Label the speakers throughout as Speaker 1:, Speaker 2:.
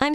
Speaker 1: I'm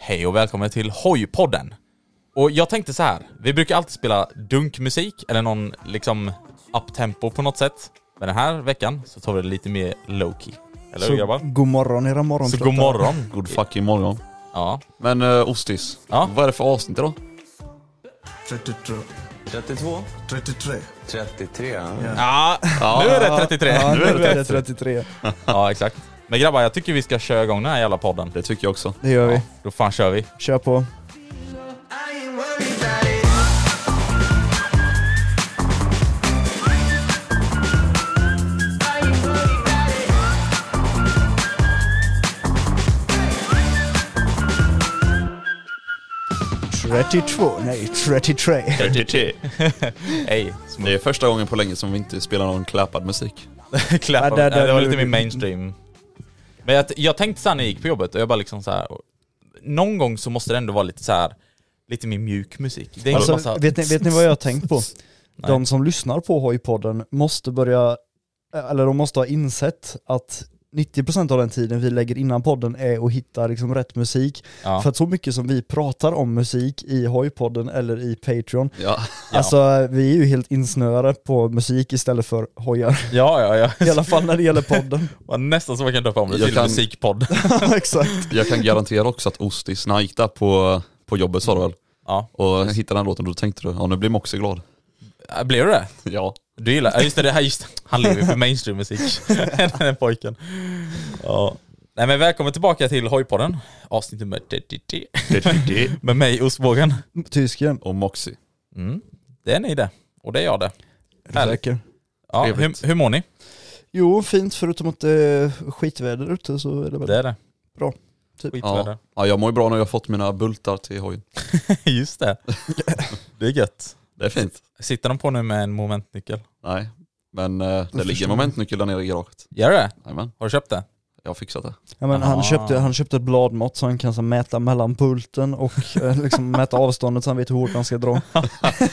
Speaker 2: Hej och välkommen till Hoj-podden. Och jag tänkte så här, vi brukar alltid spela dunkmusik eller någon liksom uptempo på något sätt. Men den här veckan så tar vi det lite mer low-key. Eller hur grabbar?
Speaker 3: god morgon era morgon.
Speaker 2: Så god morgon.
Speaker 4: Good fucking morgon.
Speaker 2: Ja.
Speaker 4: Men
Speaker 3: eh,
Speaker 4: uh, Ostis,
Speaker 2: Ja.
Speaker 4: vad är det för avsnitt idag?
Speaker 3: 33,
Speaker 5: 32?
Speaker 3: 33.
Speaker 5: 33?
Speaker 2: Ja, nu är det 33.
Speaker 3: Ja, nu är det 33.
Speaker 2: Ja, exakt. Men grabbar, jag tycker vi ska köra igång den här jävla podden.
Speaker 4: Det tycker jag också.
Speaker 3: Det gör vi.
Speaker 2: Då fan kör vi.
Speaker 3: Kör på. Trettiotvå, nej 33.
Speaker 2: Hej.
Speaker 4: Det är första gången på länge som vi inte spelar någon klappad musik.
Speaker 2: Klappa.
Speaker 3: Ja, där- där-
Speaker 2: Ja, det var lite
Speaker 3: nu-
Speaker 2: mer mainstream. Men jag, jag tänkte så här när jag gick på jobbet, och jag bara liksom så här. Någon gång så måste det ändå vara lite så här lite mer mjuk musik. Det är inte
Speaker 3: Alltså,
Speaker 2: bara så
Speaker 3: vet, ni, vet ni vad jag har tänkt på?
Speaker 2: Nej.
Speaker 3: De som lyssnar på Hojpodden måste börja, eh, eller de måste ha insett att 90% av den tiden vi lägger innan podden är att hitta liksom rätt musik.
Speaker 2: Ja.
Speaker 3: För att så mycket som vi pratar om musik i Hojpodden eller i Patreon,
Speaker 4: Ja.
Speaker 3: alltså vi är ju helt insnöade på musik istället för hojar.
Speaker 2: Ja, ja,
Speaker 3: I
Speaker 2: ja.
Speaker 3: alla fall när det gäller podden.
Speaker 2: Var nästan så man kan döpa om det
Speaker 4: Jag
Speaker 2: till
Speaker 4: kan-
Speaker 2: musikpodd.
Speaker 3: Ja, Exakt.
Speaker 4: Jag kan garantera också att Ostis, när han gick där på, på jobbet sa du väl?
Speaker 2: Ja.
Speaker 4: Och hittade den låten, då tänkte du, ja nu blir Moxie glad.
Speaker 2: Äh, Blev det det?
Speaker 4: Ja.
Speaker 2: Du gillar, ja just det, det här, just, det. han lever ju för mainstreammusik. den här pojken. Ja. Nej men välkommen tillbaka till Hojpodden, avsnitt nummer 33. Med mig, ostbågen.
Speaker 3: Tysken.
Speaker 4: Och Moxie.
Speaker 2: Mm. Det är ni det, och det är jag det. Härligt.
Speaker 3: Säker.
Speaker 2: Ja,
Speaker 4: Trevligt.
Speaker 2: hur, hur mår ni?
Speaker 3: Jo, fint förutom att det är skitväder ute så är det väl
Speaker 2: Det är det.
Speaker 3: bra. Typ.
Speaker 2: Skitväder.
Speaker 4: Ja, jag mår ju bra nu, jag har fått mina bultar till hojen.
Speaker 2: Just det. Det är gött.
Speaker 4: Det är fint.
Speaker 2: Sitter de på nu med en momentnyckel?
Speaker 4: Nej, men eh, det ligger
Speaker 3: förstår
Speaker 4: en momentnyckel där nere i garaget.
Speaker 2: Gör det?
Speaker 4: Jajamän,
Speaker 2: Har du köpt det?
Speaker 4: jag har fixat det.
Speaker 3: Ja, men
Speaker 2: Ah.
Speaker 3: han, köpte, han köpte ett bladmått så han kan så, mäta mellan pulten och eh, liksom, mäta avståndet så han vet hur hårt han ska dra.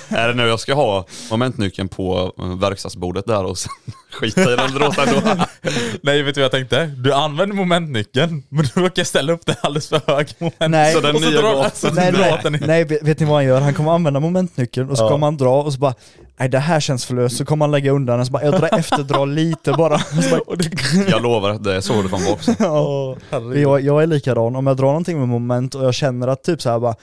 Speaker 4: Är det nu jag ska ha momentnyckeln på eh, verkstadsbordet där och sen skita i den låten då?
Speaker 2: Nej, vet du vad jag tänkte? Du använder momentnyckeln, men du råkar ställa upp den alldeles för hög moment.
Speaker 3: Nej.
Speaker 4: Så den
Speaker 2: och så
Speaker 4: nya
Speaker 2: drar,
Speaker 4: låten.
Speaker 2: så
Speaker 3: Nej,
Speaker 2: drar
Speaker 3: nej,
Speaker 2: den i.
Speaker 3: nej, vet vet ni vad han gör? Han kommer använda momentnyckeln och så
Speaker 2: Ja.
Speaker 3: kommer han dra och så bara Nej det här känns för löst, så kommer han lägga undan den så bara jag drar efter, drar lite bara. Och Så bara
Speaker 4: Jag lovar, det är så det fan var också.
Speaker 3: ja. jag, jag är likadan, om jag drar någonting med moment och jag känner att typ så här bara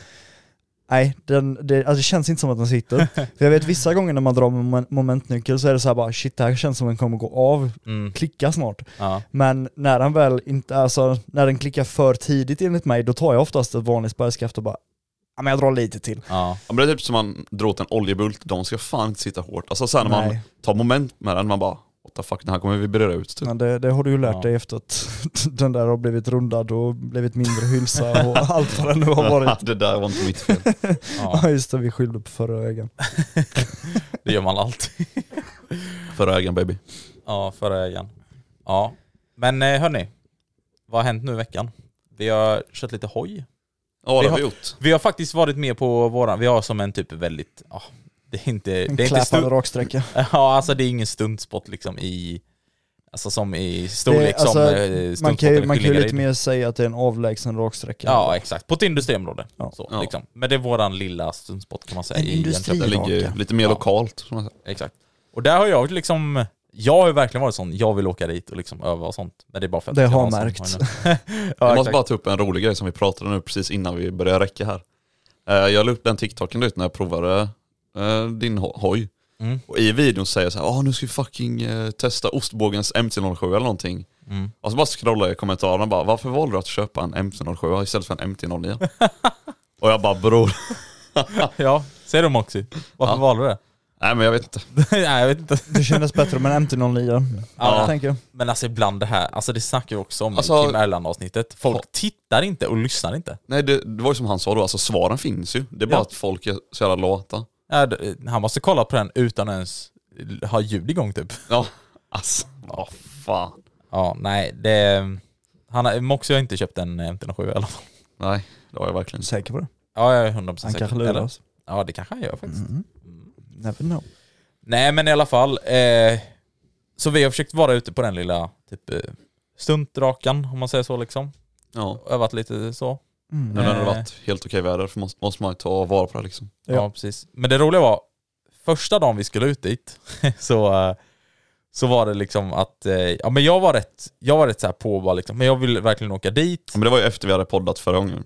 Speaker 3: Nej, den, det, alltså det känns inte som att den sitter. För jag vet vissa gånger när man drar med momen- momentnyckel så är det så här bara shit det här känns som att den kommer gå av,
Speaker 2: Mm,
Speaker 3: klicka snart.
Speaker 2: ja.
Speaker 3: Men när han väl inte, alltså när den klickar för tidigt enligt mig, då tar jag oftast ett vanligt spärrskaft och bara, ja men jag drar lite till.
Speaker 2: Ja.
Speaker 4: Ja, men det är typ som man drar åt en oljebult, de ska fan inte sitta hårt. Alltså sen när man
Speaker 3: Nej.
Speaker 4: tar moment med den, man bara what the fuck, den här kommer vi beröra ut typ.
Speaker 3: Men det, det har du ju lärt
Speaker 2: Ja.
Speaker 3: dig efter att den där har blivit rundad och blivit mindre hylsa och allt vad det nu har varit.
Speaker 4: det där var inte mitt fel.
Speaker 2: ja,
Speaker 3: Ja just det, vi skyllde på förra ögon.
Speaker 2: det gör man alltid.
Speaker 4: Förra ägaren baby.
Speaker 2: Ja, förra ägaren. Ja. Men eh, hörni, Vad har hänt nu i veckan? Vi har kört lite hoj.
Speaker 4: Ja
Speaker 2: Vi
Speaker 4: det har
Speaker 2: har-
Speaker 4: vi gjort.
Speaker 2: Vi har faktiskt varit med på våran, vi har som en typ väldigt, ja, det är inte...
Speaker 3: En
Speaker 2: det är inte
Speaker 3: klappande
Speaker 2: stu-
Speaker 3: raksträcka.
Speaker 2: Ja, alltså det är ingen stuntsport liksom i... Alltså som i storlek
Speaker 3: Det- alltså,
Speaker 2: som eh, stuntsporten
Speaker 3: Man kan ju, man kan ju
Speaker 2: skiljer
Speaker 3: lite
Speaker 2: i.
Speaker 3: mer säga att det är en avlägsen raksträcka.
Speaker 2: Ja, exakt. På ett industriområde.
Speaker 3: Ja.
Speaker 2: Så,
Speaker 4: Ja.
Speaker 2: Liksom. Men det är våran lilla stuntsport kan man säga.
Speaker 3: En
Speaker 2: i Jönköping.
Speaker 3: industri.
Speaker 4: Det ligger ju
Speaker 3: Raka.
Speaker 4: lite mer
Speaker 2: Ja.
Speaker 4: lokalt. som man säger.
Speaker 2: Exakt. Och där har jag liksom, jag har ju verkligen varit sån, jag vill åka dit och liksom öva och sånt. Men det är bara för att
Speaker 3: Det
Speaker 2: jag
Speaker 3: har
Speaker 2: en sån-
Speaker 3: märkts.
Speaker 2: en- ja,
Speaker 4: Jag måste
Speaker 2: exakt.
Speaker 4: bara ta upp en rolig grej som vi pratade nu precis innan vi började räcka här. Eh, Jag la upp den TikToken ut när jag provade eh, din ho- hoj.
Speaker 2: Mm.
Speaker 4: Och i videon säger jag så här, "Ah, nu ska vi fucking eh, testa ostbågens MC07 eller någonting.
Speaker 2: Mm.
Speaker 4: Och så bara scrollar jag i kommentarerna och bara, varför valde du att köpa en MC07 istället för en MT09? och jag bara, bror,
Speaker 2: Ja, ser du Moxie? Varför
Speaker 4: Ja.
Speaker 2: valde du det?
Speaker 4: nej men jag vet inte.
Speaker 2: Nej, jag vet inte.
Speaker 3: Det kändes bättre med en MT-09.
Speaker 2: Ja.
Speaker 3: Tänker jag.
Speaker 2: Men alltså ibland det här, alltså det snackar vi också om
Speaker 4: Alltså-
Speaker 2: i Kim Erland avsnittet. Folk
Speaker 4: Ja.
Speaker 2: tittar inte och lyssnar inte.
Speaker 4: Nej det, det var ju som han sa då, alltså svaren finns ju. Det är bara
Speaker 2: Ja.
Speaker 4: att folk är så jävla lata.
Speaker 2: Ja, d- Han måste kolla på den utan att ens ha ljud igång typ.
Speaker 4: Ja, alltså, vad fan.
Speaker 2: Ja, nej det... Han har, Moxie har inte köpt en MT07 i alla fall.
Speaker 4: Nej, det var jag verkligen inte.
Speaker 3: Säker på det?
Speaker 2: Ja, jag är 100%
Speaker 3: Han
Speaker 2: säker.
Speaker 3: kanske
Speaker 2: Eller?
Speaker 3: lurar oss.
Speaker 2: Ja, det kanske han gör faktiskt.
Speaker 3: Mm. Never know.
Speaker 2: Nej men i alla fall. Eh, så vi har försökt vara ute på den lilla typ eh, stuntrakan om man säger så liksom.
Speaker 4: Ja.
Speaker 2: Övat lite så.
Speaker 3: Mm.
Speaker 4: Nu när det
Speaker 2: Nej.
Speaker 4: har varit helt okej väder för måste, måste man ju ta vara på det liksom.
Speaker 2: Ja.
Speaker 3: Ja.
Speaker 2: precis. Men det roliga var, första dagen vi skulle ut dit så, eh, så var det liksom att, eh, ja men jag var rätt, jag var rätt så här på bara liksom, men jag vill verkligen åka dit.
Speaker 4: Men det var ju efter vi hade poddat förra gången.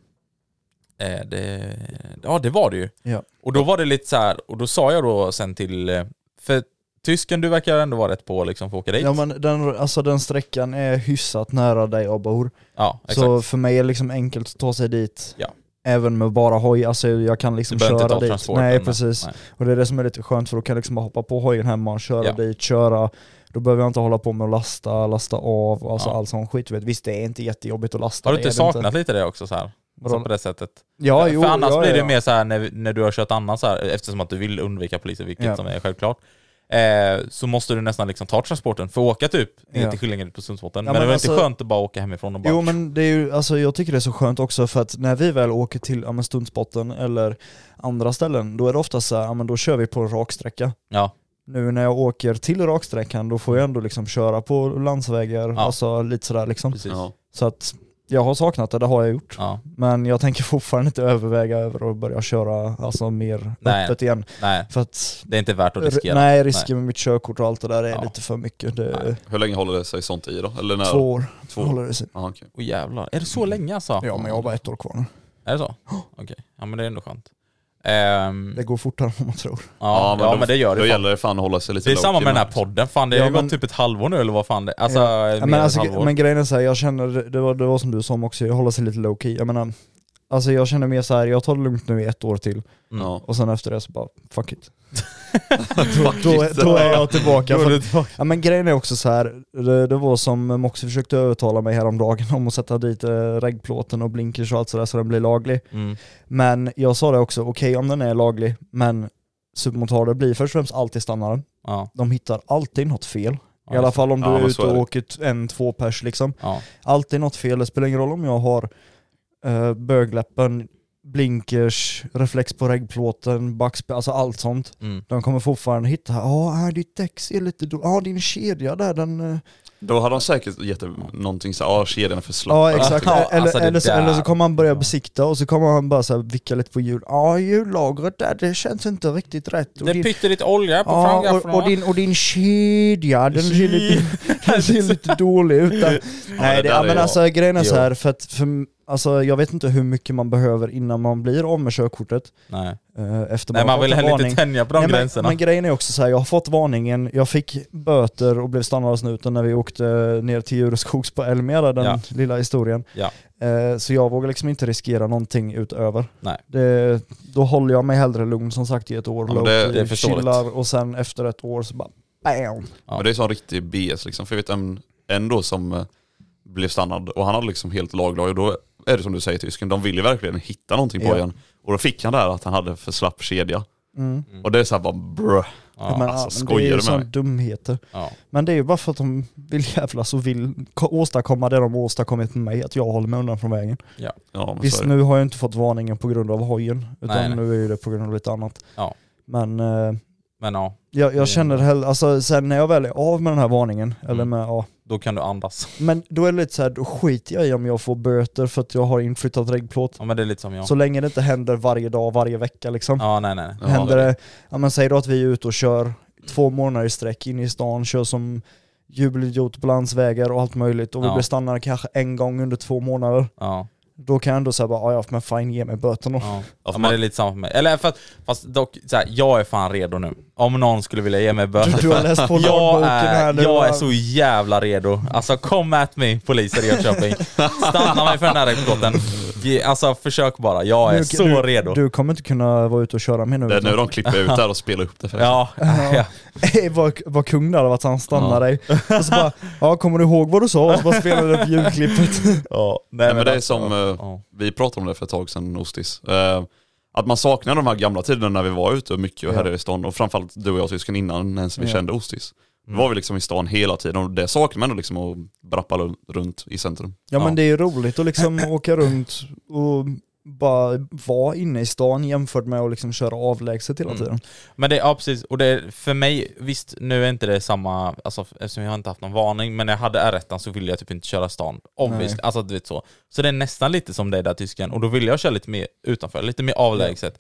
Speaker 2: Eh, det, ja det var det ju.
Speaker 3: Ja.
Speaker 2: Och då var det lite så här, och då sa jag då sen till, eh, för tysken du verkar ändå vara rätt på liksom för att åka dit.
Speaker 3: Ja men den, alltså den sträckan är hyfsat nära där jag bor.
Speaker 2: Ja, exakt.
Speaker 3: Så för mig är det liksom enkelt att ta sig dit.
Speaker 2: Ja.
Speaker 3: Även med bara hoj, alltså jag kan
Speaker 2: du
Speaker 3: liksom
Speaker 2: behöver inte
Speaker 3: köra
Speaker 2: ta
Speaker 3: dit.
Speaker 2: transporten.
Speaker 3: Nej precis.
Speaker 2: Nej.
Speaker 3: Och det är det som är lite skönt för då kan jag liksom bara hoppa på hojen hemma och köra
Speaker 2: Ja.
Speaker 3: dit, köra. Då behöver jag inte hålla på med att lasta, lasta av, alltså
Speaker 2: Ja.
Speaker 3: all sån skit. du Vet. Visst det är inte jättejobbigt att lasta.
Speaker 2: Har du
Speaker 3: det
Speaker 2: inte
Speaker 3: är det
Speaker 2: saknat lite det också så här?
Speaker 3: Vadå?
Speaker 2: Så på det sättet?
Speaker 3: Ja,
Speaker 2: för
Speaker 3: jo,
Speaker 2: annars
Speaker 3: ja,
Speaker 2: blir det
Speaker 3: ja.
Speaker 2: mer så här när, när du har kört annan så här, eftersom att du vill undvika polisen, vilket
Speaker 3: Ja.
Speaker 2: som är självklart. Eh, så måste du nästan liksom ta transporten för att åka typ ner
Speaker 3: Ja.
Speaker 2: till Skillingaryd på Sundsbotten.
Speaker 3: Ja,
Speaker 2: men det
Speaker 3: men
Speaker 2: var inte
Speaker 3: alltså-
Speaker 2: skönt att bara åka hemifrån och bara...
Speaker 3: Jo men det är ju, alltså jag tycker det är så skönt också för att när vi väl åker till ja, men stuntspotten eller andra ställen, då är det ofta så här, ja, men då kör vi på en raksträcka.
Speaker 2: Ja,
Speaker 3: Nu när jag åker till raksträckan, då får jag ändå liksom köra på landsvägar,
Speaker 2: Ja.
Speaker 3: alltså lite sådär liksom.
Speaker 2: precis. Ja.
Speaker 4: Ja.
Speaker 3: Så att jag har saknat det, det har jag gjort. Men jag tänker fortfarande inte överväga över att börja köra alltså mer
Speaker 2: Nej.
Speaker 3: öppet igen.
Speaker 2: Nej,
Speaker 3: För att
Speaker 2: det är inte värt att riskera.
Speaker 3: nej, risken med mitt körkort och allt det där är
Speaker 2: Ja.
Speaker 3: lite för mycket. Det är
Speaker 2: Nej.
Speaker 4: Hur länge håller det sig sånt i då? Eller när?
Speaker 3: två år
Speaker 4: Två.
Speaker 3: håller det sig.
Speaker 4: Ja, okej.
Speaker 2: Åh jävlar, är det så länge alltså?
Speaker 3: Mm. Ja men jag har bara ett år kvar nu.
Speaker 2: Är det så? Okej, ja men det är ändå skönt. Ehm,
Speaker 3: Det går fortare än vad man tror.
Speaker 2: ja, ja, men,
Speaker 4: då-
Speaker 2: det gör det.
Speaker 4: Då
Speaker 2: fan.
Speaker 4: gäller det fan att hålla sig lite
Speaker 2: det är
Speaker 4: low-key
Speaker 2: samma med den här
Speaker 4: med.
Speaker 2: podden, fan det har
Speaker 3: Ja,
Speaker 2: ju
Speaker 3: men-
Speaker 2: gått typ ett halvår nu eller vad fan det Alltså,
Speaker 3: Ja.
Speaker 2: mer
Speaker 3: Ja, men,
Speaker 2: än
Speaker 3: alltså,
Speaker 2: ett halvår.
Speaker 3: men grejen är så här, jag känner, det var, det var som du sa också, jag håller sig lite low key. Jag menar, alltså jag känner mer så här, jag tar det lugnt nu i ett år till
Speaker 2: Mm.
Speaker 4: Ja.
Speaker 3: och sen efter det så bara fuck it. då, då, då är jag tillbaka.
Speaker 2: Då är
Speaker 3: För,
Speaker 2: du tillbaka.
Speaker 3: ja, men grejen är också så här, det, det var som Moxie försökte övertala mig häromdagen om att sätta dit eh, reggplåten och blinkers och allt sådär så den blir laglig.
Speaker 2: Mm.
Speaker 3: Men jag sa det också, okej om den är laglig, men supermotorer blir först och främst alltid stannare.
Speaker 2: Ja.
Speaker 3: De hittar alltid något fel.
Speaker 2: Ja,
Speaker 3: I alla fall om du
Speaker 4: Ja,
Speaker 3: är
Speaker 4: men så är
Speaker 3: ute och
Speaker 4: det.
Speaker 3: åker t- en, två pers liksom.
Speaker 2: Ja.
Speaker 3: Alltid något fel, det spelar ingen roll om jag har eh, bögläppen, blinkers, reflex på reggplåten, backspel, alltså allt sånt.
Speaker 2: Mm.
Speaker 3: De kommer fortfarande hitta, ja här ditt däck ser lite då, ja din kedja där den... eh."
Speaker 4: Då hade de säkert gett någonting så här, ah kedjan är för slapp.
Speaker 3: Ja exakt,
Speaker 2: Ja,
Speaker 3: eller,
Speaker 2: alltså, det
Speaker 3: eller, så,
Speaker 2: där.
Speaker 3: eller så kommer han
Speaker 2: Ja.
Speaker 3: börja besikta och så kommer han bara så här vicka lite på hjul, ja hjullagret där det känns inte riktigt rätt. Och
Speaker 2: Det är
Speaker 3: din-
Speaker 2: pyttelite olja på
Speaker 3: Ja,
Speaker 2: framgaffeln
Speaker 3: och, och, din, och din kedja, den ser lite, den ser lite dålig ut. där. Nej, det,
Speaker 4: där
Speaker 3: ja,
Speaker 4: är
Speaker 3: men
Speaker 4: jag.
Speaker 3: alltså grejen är så
Speaker 4: Jo.
Speaker 3: här, för att för, alltså, jag vet inte hur mycket man behöver innan man blir av med körkortet.
Speaker 2: Nej.
Speaker 3: eh, efter
Speaker 2: Nej,
Speaker 3: man,
Speaker 2: man vill
Speaker 3: har fått en
Speaker 2: heller
Speaker 3: varning.
Speaker 2: inte tänja på de
Speaker 3: Nej, men,
Speaker 2: gränserna.
Speaker 3: Men grejen är också så här, jag har fått varningen, jag fick böter och blev stannad av snuten när vi åkte ner till Djureskogs på Elmera, den
Speaker 2: Ja.
Speaker 3: lilla historien.
Speaker 2: Ja.
Speaker 3: Eh, så jag vågar liksom inte riskera någonting utöver.
Speaker 2: Nej.
Speaker 3: Det, då håller jag mig hellre lugn som sagt i ett år,
Speaker 4: Ja, men
Speaker 3: low
Speaker 4: det-
Speaker 3: key,
Speaker 2: det är förståeligt.
Speaker 3: chillar och sen efter ett år så bara BAM!
Speaker 4: Men det är sån riktig BS liksom. För jag vet en, en då som eh, blev stannad och han hade liksom helt laglag och då är det som du säger tysken, de vill ju verkligen hitta någonting på
Speaker 3: Ja.
Speaker 4: igen. Och då fick han det här att han hade för slapp kedja.
Speaker 3: Mm.
Speaker 4: Och det är såhär bara brö.
Speaker 3: Ja, men,
Speaker 4: alltså,
Speaker 3: ja, men
Speaker 4: skojar
Speaker 3: det är
Speaker 4: du
Speaker 3: ju
Speaker 4: med
Speaker 3: sån
Speaker 4: mig?
Speaker 3: dumheter.
Speaker 2: Ja.
Speaker 3: Men det är ju bara för att de vill jävlas och vill ko- åstadkomma det de åstadkommit med mig, att jag håller mig undan från vägen.
Speaker 4: Ja, men så
Speaker 3: Visst
Speaker 4: är det.
Speaker 3: nu har jag inte fått varningen på grund av hojen, utan
Speaker 2: Nej, nej.
Speaker 3: nu är ju det på grund av lite annat.
Speaker 2: Ja.
Speaker 3: Men eh,
Speaker 2: Men ja,
Speaker 3: jag,
Speaker 2: Mm.
Speaker 3: jag känner hellre, alltså sen när jag väl är av med den här varningen, eller
Speaker 2: Mm.
Speaker 3: med, ja.
Speaker 2: då kan du andas.
Speaker 3: Men då är det lite så här, då skiter jag i om jag får böter för att jag har inflyttat reggplåt.
Speaker 2: Ja men det är lite som jag.
Speaker 3: Så länge det inte händer varje dag, varje vecka liksom.
Speaker 2: Ja nej nej. nej.
Speaker 4: Ja,
Speaker 3: Händer
Speaker 4: det-
Speaker 3: det, ja men säg då att vi är ute och kör två månader i sträck in i stan, kör som jubelidiot på landsvägar och allt möjligt och vi
Speaker 2: Ja.
Speaker 3: blir stannade kanske en gång under två månader.
Speaker 2: Ja,
Speaker 3: Då kan jag ändå säga bara, "Ah, "Ja, ja men fine ge mig böterna.
Speaker 2: ja.
Speaker 4: Ja,
Speaker 2: ja
Speaker 4: för
Speaker 2: men det är
Speaker 4: man,
Speaker 2: lite samma för mig. Eller för att, fast dock, så här, jag är fan redo nu. Om någon skulle vilja ge mig böter
Speaker 3: Du, du
Speaker 2: för-
Speaker 3: har läst på
Speaker 2: jag
Speaker 3: lagboken här
Speaker 2: är,
Speaker 3: nu.
Speaker 2: jag
Speaker 3: va?
Speaker 2: är så jävla redo. Alltså kom at me poliser i Jönköping. Stanna mig för den här rekordbåten. Ge- Alltså försök bara, jag är
Speaker 3: Du-
Speaker 2: så
Speaker 3: du,
Speaker 2: redo.
Speaker 3: Du kommer inte kunna vara ute och köra med nu.
Speaker 4: det är
Speaker 3: vet
Speaker 4: nu
Speaker 3: du.
Speaker 4: de klipper ut där och spelar upp det för
Speaker 2: Ja, ja.
Speaker 3: Ey, vad, vad kung det hade varit, han stannar dig. Och så bara, ja kommer du ihåg vad du sa? Och så bara spelar du upp ljudklippet.
Speaker 2: ja.
Speaker 4: Nej, men det är
Speaker 2: alltså,
Speaker 4: som, eh,
Speaker 2: ja.
Speaker 4: vi pratade om det för ett tag sedan, Ostis. Eh, att man saknar de här gamla tiderna när vi var ute mycket och härjade i stan. Och framförallt du och jag tysken innan ens vi
Speaker 3: Ja.
Speaker 4: kände Ostis. Då var vi liksom i stan hela tiden och det saknar man ändå liksom att brappa lu- runt i centrum.
Speaker 3: Ja,
Speaker 2: Ja.
Speaker 3: men det är ju roligt att liksom åka runt och bara vara inne i stan jämfört med att liksom köra avlägset hela
Speaker 2: Mm.
Speaker 3: tiden.
Speaker 2: Men det, ja precis, och det är för mig, visst nu är inte det samma, alltså eftersom jag inte haft någon varning, men när jag hade r så ville jag typ inte köra stan. Obviously,
Speaker 3: Nej.
Speaker 2: alltså du vet så. Så det är nästan lite som det där tysken, och då ville jag köra lite mer utanför, lite mer avlägset.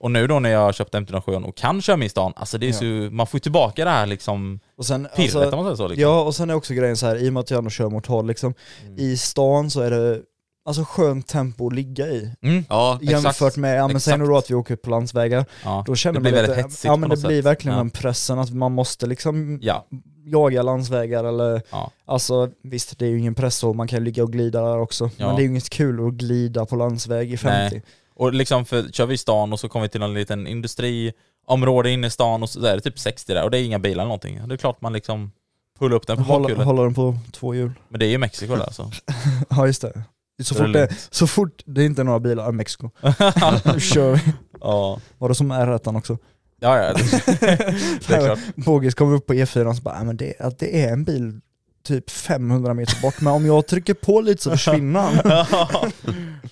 Speaker 2: Och nu då när jag har köpt M307 och kan köra min stan, alltså det är
Speaker 3: Ja.
Speaker 2: så, man får ju tillbaka det här liksom
Speaker 3: Och sen,
Speaker 2: pirret
Speaker 3: alltså,
Speaker 2: om man säger så liksom. Mm.
Speaker 3: Ja, och sen är också grejen så här, i och med att jag ändå kör mot håll liksom, i stan så är det alltså skönt tempo att ligga i.
Speaker 2: Mm.
Speaker 4: Ja,
Speaker 3: Jämfört
Speaker 2: Exakt.
Speaker 3: med, ja men säg nu då
Speaker 2: Exakt.
Speaker 3: att vi åker ut på landsvägar,
Speaker 2: Ja.
Speaker 3: då känner
Speaker 2: det blir
Speaker 3: man
Speaker 2: väldigt
Speaker 3: lite,
Speaker 2: hetsigt
Speaker 3: ja men
Speaker 2: på
Speaker 3: det
Speaker 2: något
Speaker 3: blir
Speaker 2: sätt.
Speaker 3: verkligen
Speaker 2: Ja.
Speaker 3: den pressen att man måste liksom
Speaker 2: Ja,
Speaker 3: jaga landsvägar eller,
Speaker 2: Ja.
Speaker 3: alltså visst det är ju ingen press så, man kan ju ligga och glida där också,
Speaker 2: Ja.
Speaker 3: men det är ju inget kul att glida på landsväg i 50.
Speaker 2: Nej. och liksom för, kör vi i stan och så kommer vi till någon liten industriområde inne i stan och så där är det typ 60 där och det är inga bilar eller någonting. Det är klart man liksom pullar upp den på
Speaker 3: Hålla,
Speaker 2: bakhjulet.
Speaker 3: hålla den på två hjul.
Speaker 2: Men det är ju Mexiko där alltså.
Speaker 3: Ja just det. Så
Speaker 2: Det är
Speaker 3: fort det,
Speaker 2: lugnt.
Speaker 3: så fort det inte är några bilar, i Mexiko. Nu kör vi.
Speaker 2: ja.
Speaker 3: Var det som R1 också?
Speaker 2: Ja, ja. Det är klart.
Speaker 3: Bogis kommer upp på E4 och så bara, "Nej, men det, att det är en bil typ 500 meter bort, men om jag trycker på lite så försvinner han.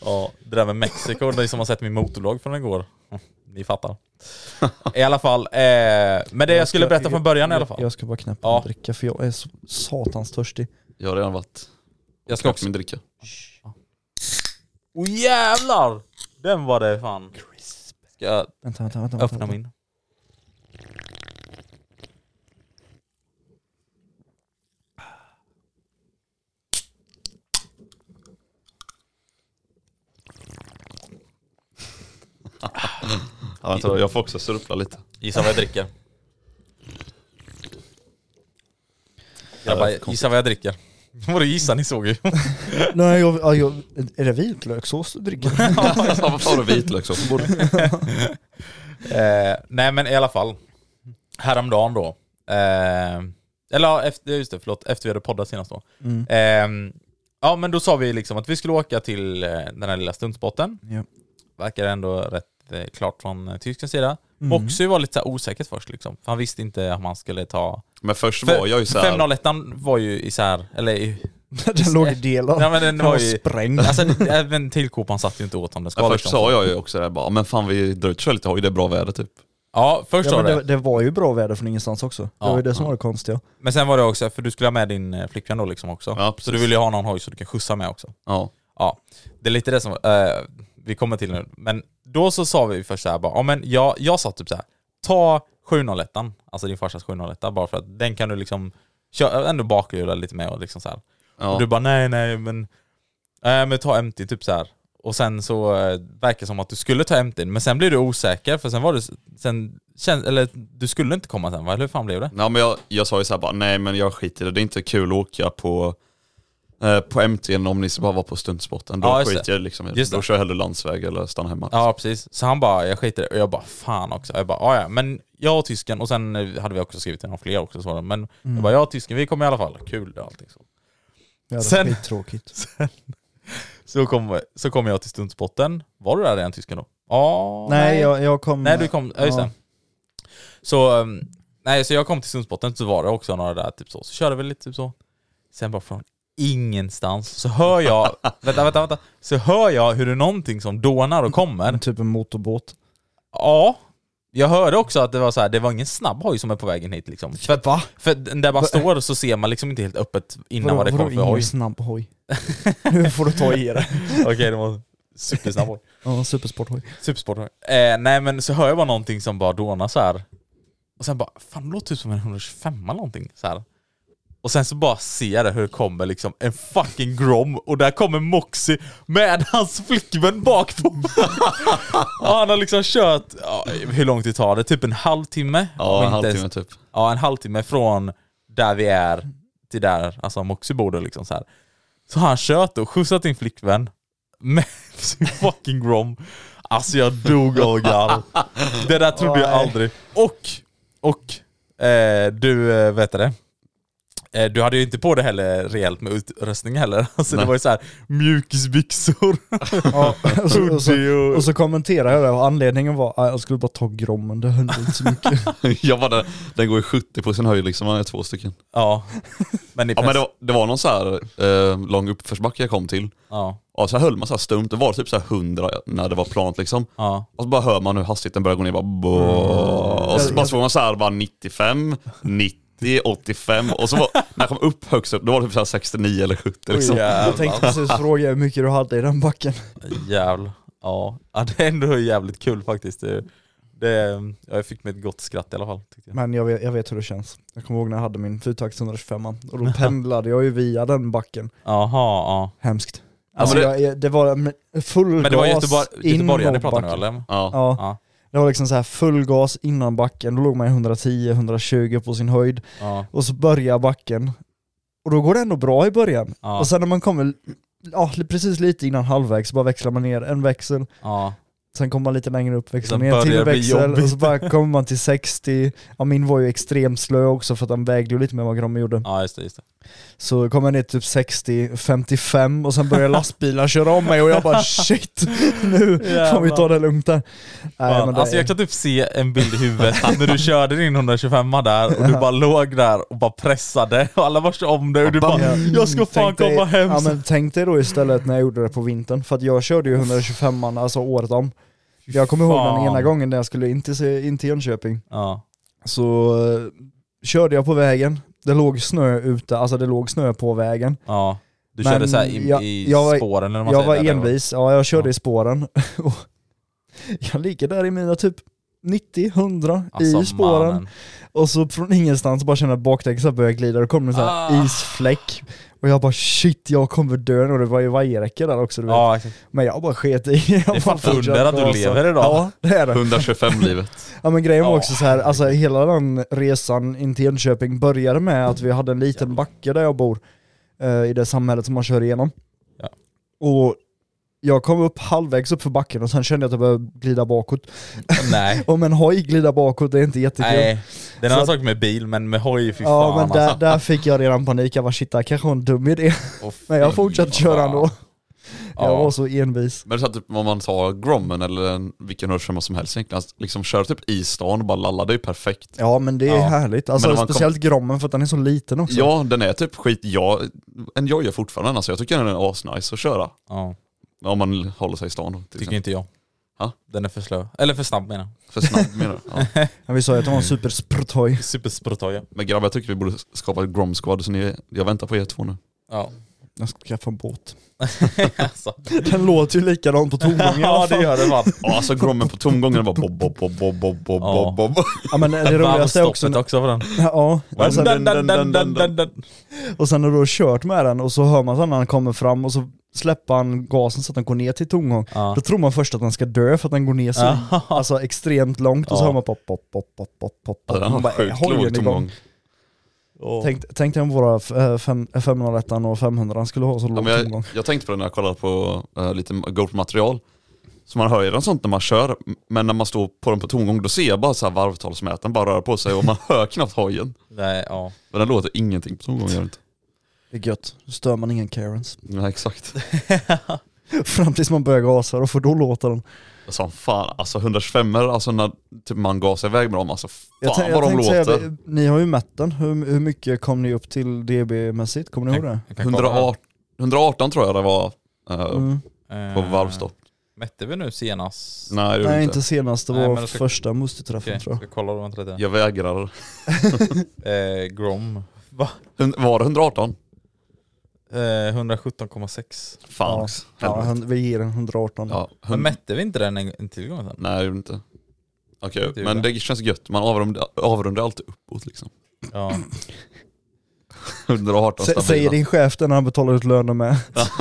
Speaker 2: ja, det där med Mexiko, det är som har sett min motorblogg från igår. Ni fattar. I alla fall, eh, men det jag skulle berätta från början i alla
Speaker 3: Jag,
Speaker 2: fall.
Speaker 3: jag ska bara knäppa
Speaker 2: Ja.
Speaker 3: en dricka för jag är så satans törstig.
Speaker 4: Jag har redan varit
Speaker 2: Jag ska
Speaker 4: knäppt
Speaker 2: också...
Speaker 4: min dricka.
Speaker 2: Åh jävlar! Den var det fan. Ska jag
Speaker 3: Vänta, vänta, vänta. vänta,
Speaker 2: öppna
Speaker 3: vänta.
Speaker 2: min?
Speaker 4: Ja, vänta, jag får också surpla lite.
Speaker 2: Gissa vad jag dricker. Grabbar, gissa vad jag dricker. Vadå gissa? Ni såg ju.
Speaker 3: Nej, jag, ja, jag, är det vitlökssås du dricker?
Speaker 4: Ja, Varför har du vitlökssås på bordet?
Speaker 2: Eh, nej men i alla fall. Häromdagen då. Eh, eller ja, efter, just det, förlåt. Efter vi hade poddat senast då.
Speaker 3: Mm.
Speaker 2: Ehm, ja men då sa vi liksom att vi skulle åka till eh, den här lilla stuntspotten.
Speaker 3: Ja.
Speaker 2: Verkar ändå rätt eh, klart från eh, tyskens sida.
Speaker 3: Mm.
Speaker 2: Boxy var lite så här osäkert först liksom. För han visste inte om han skulle ta...
Speaker 4: Men först
Speaker 2: För-
Speaker 4: var jag ju såhär,
Speaker 2: 501 var ju isär, eller i-
Speaker 3: Den låg i delar.
Speaker 2: Nej, men den var ju-
Speaker 3: sprängd.
Speaker 2: Alltså det- även tillkopan satt ju inte åt om den ska
Speaker 4: ja, först
Speaker 2: liksom.
Speaker 4: sa jag ju också det bara, men fan vi drar ut och kör lite hoj, det är bra väder typ.
Speaker 2: Ja, först
Speaker 3: Ja,
Speaker 2: sa
Speaker 3: men
Speaker 2: du
Speaker 3: det,
Speaker 2: det.
Speaker 3: det var ju bra väder från ingenstans också.
Speaker 2: Ja,
Speaker 3: det var ju det som var det konstiga.
Speaker 2: Men sen var det också, för du skulle ha med din eh, flickvän då liksom också.
Speaker 4: Ja,
Speaker 2: så
Speaker 4: precis.
Speaker 2: du ville ju ha någon hoj så du kan skjutsa med också.
Speaker 4: Ja.
Speaker 2: Ja, det är lite det som eh, vi kommer till nu. Men då så sa vi först så här bara, ja men jag, jag sa typ så här, ta 701 alltså din farsas 701 bara för att den kan du liksom köra ändå bakhjula lite med och liksom så här.
Speaker 4: Ja.
Speaker 2: Och du bara nej nej men, eh, men ta MT typ så här. Och sen så eh, verkar det som att du skulle ta MT men sen blev du osäker för sen var du, sen, kän, eller du skulle inte komma sen va? Eller hur fan blev det?
Speaker 4: Ja, men jag, jag sa ju såhär bara, nej men jag skiter i det, det är inte kul att åka på, eh, på MT om ni ska bara vara på stuntsporten. Då
Speaker 2: Ja, just
Speaker 4: skiter
Speaker 2: det.
Speaker 4: jag liksom i det.
Speaker 2: Just
Speaker 4: Då
Speaker 2: det.
Speaker 4: kör jag hellre landsväg eller stannar hemma.
Speaker 2: Ja precis, så han bara jag skiter i det. och jag bara fan också. Jag bara "Ja, ja men jag och tysken och sen eh, hade vi också skrivit till några fler också så var det. men jag bara jag och tysken vi kommer i alla fall, kul och allting så.
Speaker 3: Ja, det var
Speaker 2: Sen-
Speaker 3: skittråkigt.
Speaker 2: Så kom, så kom jag till stuntspotten, var du där redan tysken då? Ja,
Speaker 3: Nej, jag, jag kom...
Speaker 2: Nej du kom, ja just
Speaker 3: Ja.
Speaker 2: det. Så um, Nej, så jag kom till Sundsbotten så var det också några där typ så. Så körde vi lite typ så. Sen bara från ingenstans så hör jag, vänta, vänta, vänta. Så hör jag hur det är någonting som dånar och kommer.
Speaker 3: Typ en motorbåt.
Speaker 2: Ja. Jag hörde också att det var så här, det var ingen snabb hoj som är på vägen hit liksom. För, att- för där man står så ser man liksom inte helt öppet innan vad det kommer för
Speaker 3: ingen
Speaker 2: hoj.
Speaker 3: snabb hoj? nu får du ta i det.
Speaker 2: Okej, det var supersnabb hoj.
Speaker 3: Ja, supersporthoj.
Speaker 2: Supersport. Eh, nej men så hör jag bara någonting som bara dånar så här. Och sen bara, fan det låter typ som en 125 eller någonting så här. Och sen så bara ser jag det hur det kommer liksom en fucking Grom och där kommer Moxie med hans flickvän bak på. och han har liksom kört, ja, hur långt det tar det? Typ en halvtimme?
Speaker 4: Ja, en
Speaker 2: Om inte ens-
Speaker 4: halvtimme typ.
Speaker 2: Ja, en halvtimme från där vi är till där alltså Moxie bodde liksom så här. Så har han kört och skjutsat in flickvän med sin fucking Grom. Alltså jag dog av garv. Det där trodde jag
Speaker 3: Nej.
Speaker 2: aldrig. Och, och, eh, du eh, vet det. Eh, du hade ju inte på det heller rejält med utrustning heller. Alltså det var ju så här mjukisbyxor,
Speaker 3: Ja, och, så, och, så,
Speaker 2: hoodie och...
Speaker 3: och så kommenterade jag det och anledningen var att jag skulle bara ta grommen, det hände inte så mycket.
Speaker 4: jag bara, den, den går i 70 på sin höjd liksom, man är två stycken.
Speaker 2: Ja. Men, i
Speaker 4: Ja men det
Speaker 2: press-
Speaker 4: var, det var någon så här eh, lång uppförsbacke jag kom till.
Speaker 2: ja.
Speaker 4: Ja, så här höll man så här stumt, det var typ så här 100 när det var plant liksom.
Speaker 2: Ja.
Speaker 4: Och så bara hör man hur hastigheten börjar gå ner, bara bo- Och så bara såg man så här bara 95, 90, 85 och så var, när jag kom upp högst upp, då var det typ så här 69 eller 70 liksom.
Speaker 3: Jag tänkte precis fråga hur mycket du hade i den backen.
Speaker 2: Jävlar. Ja. ja, det är ändå jävligt kul faktiskt. Det, det, ja, jag fick mig ett gott skratt i alla fall. Tyckte jag.
Speaker 3: Men jag vet, jag vet hur det känns. Jag kommer ihåg när jag hade min fyrtakts 125 och då pendlade jag ju via den backen.
Speaker 2: Jaha, ja.
Speaker 3: Hemskt. Alltså
Speaker 2: men
Speaker 3: det, jag, det var med full
Speaker 2: Men det var
Speaker 3: gas
Speaker 2: Göteborg,
Speaker 3: in
Speaker 2: göteborgare ni
Speaker 3: mot
Speaker 2: pratar nu
Speaker 3: backen.
Speaker 2: eller?
Speaker 4: Ja.
Speaker 3: Ja.
Speaker 2: Ja.
Speaker 3: Det var liksom så här full gas innan backen, då låg man i 110-120 på sin höjd
Speaker 2: Ja.
Speaker 3: och så börjar backen. Och då går det ändå bra i början.
Speaker 2: Ja.
Speaker 3: Och sen när man kommer ja, precis lite innan halvvägs så bara växlar man ner en växel,
Speaker 2: ja.
Speaker 3: sen kommer man lite längre upp, växlar
Speaker 2: Sen
Speaker 3: ner en
Speaker 2: börjar
Speaker 3: till
Speaker 2: det bli
Speaker 3: växel
Speaker 2: jobbigt.
Speaker 3: och så bara kommer man till 60. Ja, min var ju extremt slö också för att den vägde ju lite mer än vad Gromme gjorde.
Speaker 2: Ja, just det, just det.
Speaker 3: Så kom jag ner till typ 60, 55 och sen började lastbilar köra om mig och jag bara shit, nu får vi ta det lugnt där. Nej,
Speaker 2: Fan,
Speaker 3: men det
Speaker 2: alltså jag kan typ se en bild i huvudet när du körde din 125 där och du bara låg där och bara pressade och alla var så om dig och du bara Jag ska fan
Speaker 3: "Mm, Tänk dig-
Speaker 2: komma hem.
Speaker 3: Ja, men tänk dig då istället när jag gjorde det på vintern, för att jag körde ju 125 alltså året om. Jag kommer ihåg den
Speaker 2: fan.
Speaker 3: ena gången när jag skulle in till, Se- in till Jönköping,
Speaker 2: Ja.
Speaker 3: så eh, körde jag på vägen, det låg snö ute, alltså det låg snö på vägen.
Speaker 2: ja. Du
Speaker 3: Men
Speaker 2: körde såhär i,
Speaker 3: jag-
Speaker 2: i
Speaker 3: jag var-
Speaker 2: spåren eller vad man
Speaker 3: Jag
Speaker 2: säger
Speaker 3: var
Speaker 2: där, eller?
Speaker 3: envis, ja jag körde
Speaker 2: Ja.
Speaker 3: i spåren. Och jag ligger där i mina typ 90-100 i
Speaker 2: Alltså,
Speaker 3: spåren.
Speaker 2: mannen.
Speaker 3: Och så från ingenstans bara känner jag att bakdäcket så här börjar glida, och det kommer en sån här
Speaker 2: Ah.
Speaker 3: isfläck. Och jag bara shit, jag kommer dö och det var ju vajerräcke där också du vet.
Speaker 2: Ja, exakt.
Speaker 3: Men jag bara sket i. Jag
Speaker 2: Det är
Speaker 3: bara
Speaker 2: fan under
Speaker 3: fortsatte
Speaker 2: att du
Speaker 3: gasa.
Speaker 2: lever idag.
Speaker 3: Ja, det är det.
Speaker 4: 125 livet.
Speaker 3: Ja men grejen var också så här, alltså hela den resan in till Jönköping började med att vi hade en liten backe där jag bor, eh, i det samhället som man kör igenom.
Speaker 2: Ja.
Speaker 3: Och jag kom upp halvvägs upp för backen och sen kände jag att jag började glida bakåt.
Speaker 2: Nej.
Speaker 3: Om en hoj glida bakåt, det är inte jättekul.
Speaker 2: Nej, det är en
Speaker 3: Så
Speaker 2: annan sak med bil men med hoj, fy
Speaker 3: Ja
Speaker 2: fan
Speaker 3: men där,
Speaker 2: alltså.
Speaker 3: där fick jag redan panik, jag var shit det här kanske var en dum idé.
Speaker 2: Åh,
Speaker 3: Men jag
Speaker 2: fy
Speaker 3: fortsatte
Speaker 2: fan.
Speaker 3: köra ändå. Jag
Speaker 2: Ja.
Speaker 3: var så envis.
Speaker 4: Men det är så här typ om man tar Grommen eller en- vilken hörsel som helst egentligen, alltså, liksom kör typ i stan och bara lallar, det är ju perfekt.
Speaker 3: Ja men det är
Speaker 2: Ja.
Speaker 3: härligt, alltså
Speaker 4: Men om man kom-
Speaker 3: speciellt Grommen för att den är så liten också.
Speaker 4: Ja, den är typ skit, jag, en jag gör fortfarande alltså, jag tycker den är asnice att köra.
Speaker 2: Ja,
Speaker 4: Om man håller sig i stan då, till
Speaker 2: tycker
Speaker 4: exempel.
Speaker 2: inte jag.
Speaker 4: Ja.
Speaker 2: Den är för slö. Eller för snabb menar
Speaker 4: För snabb menar du? Ja.
Speaker 3: Ja, vi sa ju att det var en superspruthoj.
Speaker 2: jag. Supersportoja.
Speaker 4: Men grabbar jag tycker vi borde skapa ett Grom Squad, så ni, jag väntar på er två nu.
Speaker 2: Ja.
Speaker 3: Jag ska skaffa en båt.
Speaker 2: alltså.
Speaker 3: Den låter ju likadan på tomgången i alla
Speaker 2: ja det
Speaker 3: fall.
Speaker 2: gör det fan.
Speaker 4: Ja alltså Grommen på tomgången var bob bob bob bob bob bob
Speaker 2: Ja.
Speaker 4: bob bob.
Speaker 3: Ja men det roligaste är också...
Speaker 2: Varvstoppet också på den.
Speaker 3: Ja, och sen,
Speaker 2: Dun, dun, dun, dun, dun, dun.
Speaker 3: och sen när du har kört med den och så hör man sen när han kommer fram och så släpper han gasen så att den går ner till tomgång.
Speaker 2: Ja.
Speaker 3: Då tror man först att den ska dö för att den går ner så alltså, extremt långt och så
Speaker 2: Ja.
Speaker 3: hör man pop, pop, pop, pop, pop, pop.
Speaker 4: Ja, Den
Speaker 3: Man bara,
Speaker 4: har sjukt
Speaker 3: "Håll den
Speaker 4: låg
Speaker 3: igång."
Speaker 4: tomgång.
Speaker 3: Tänk, tänk dig om våra eh, fem- 501 och 500 skulle ha så
Speaker 4: Ja,
Speaker 3: låg
Speaker 4: men jag,
Speaker 3: tomgång.
Speaker 4: jag tänkte på det när jag kollade på eh, lite GoPro-material. Så man hör ju den sånt när man kör, men när man står på den på tomgång då ser jag bara så här varvtalsmätaren bara röra på sig och man hör knappt hojen.
Speaker 2: Nej, ja.
Speaker 4: Men den låter ingenting på tomgång gör den inte.
Speaker 3: Det är gött, då stör man ingen Karens.
Speaker 4: Nej exakt.
Speaker 3: Fram tills man börjar gasa, då får då låta den.
Speaker 4: Som fan, alltså 125 alltså när typ man gasar iväg med dem, alltså fan
Speaker 3: Jag, tän-
Speaker 4: vad
Speaker 3: jag
Speaker 4: de
Speaker 3: tänkte
Speaker 4: låter.
Speaker 3: säga, det, ni har ju mätt den. Hur, hur mycket kom ni upp till DB-mässigt? Kommer ni ihåg det?
Speaker 2: Jag kan kolla här.
Speaker 4: 118, 118 tror jag det var eh,
Speaker 3: Mm.
Speaker 4: på
Speaker 2: Eh,
Speaker 4: varvstopp.
Speaker 2: Mätte vi nu senast?
Speaker 4: Nej det gjorde
Speaker 3: Nej
Speaker 4: jag
Speaker 3: inte
Speaker 4: inte.
Speaker 3: senast, det
Speaker 2: Nej,
Speaker 3: var
Speaker 2: men då ska-
Speaker 3: första Musti-träffen
Speaker 2: Okej,
Speaker 3: tror jag.
Speaker 2: ska kolla då, vänta lite.
Speaker 4: Jag vägrar.
Speaker 2: Eh, Grom. Va?
Speaker 4: Hun- Var det 118?
Speaker 2: Eh, 117,6.
Speaker 4: Fan
Speaker 3: Ja.
Speaker 4: också.
Speaker 3: Ja,
Speaker 4: Helvete.
Speaker 3: han, vi ger den 118.
Speaker 4: Ja,
Speaker 2: Men
Speaker 4: hun-
Speaker 2: mätte vi inte den en, en till gång sen?
Speaker 4: Nej det gjorde inte. Okej,
Speaker 2: Det
Speaker 4: men
Speaker 2: gjorde.
Speaker 4: det känns gött. Man avrundar, avrundar alltid uppåt liksom.
Speaker 2: Ja.
Speaker 4: 118
Speaker 3: Sä-
Speaker 4: stabila.
Speaker 3: Säger din chef det när han betalar ut lönen med.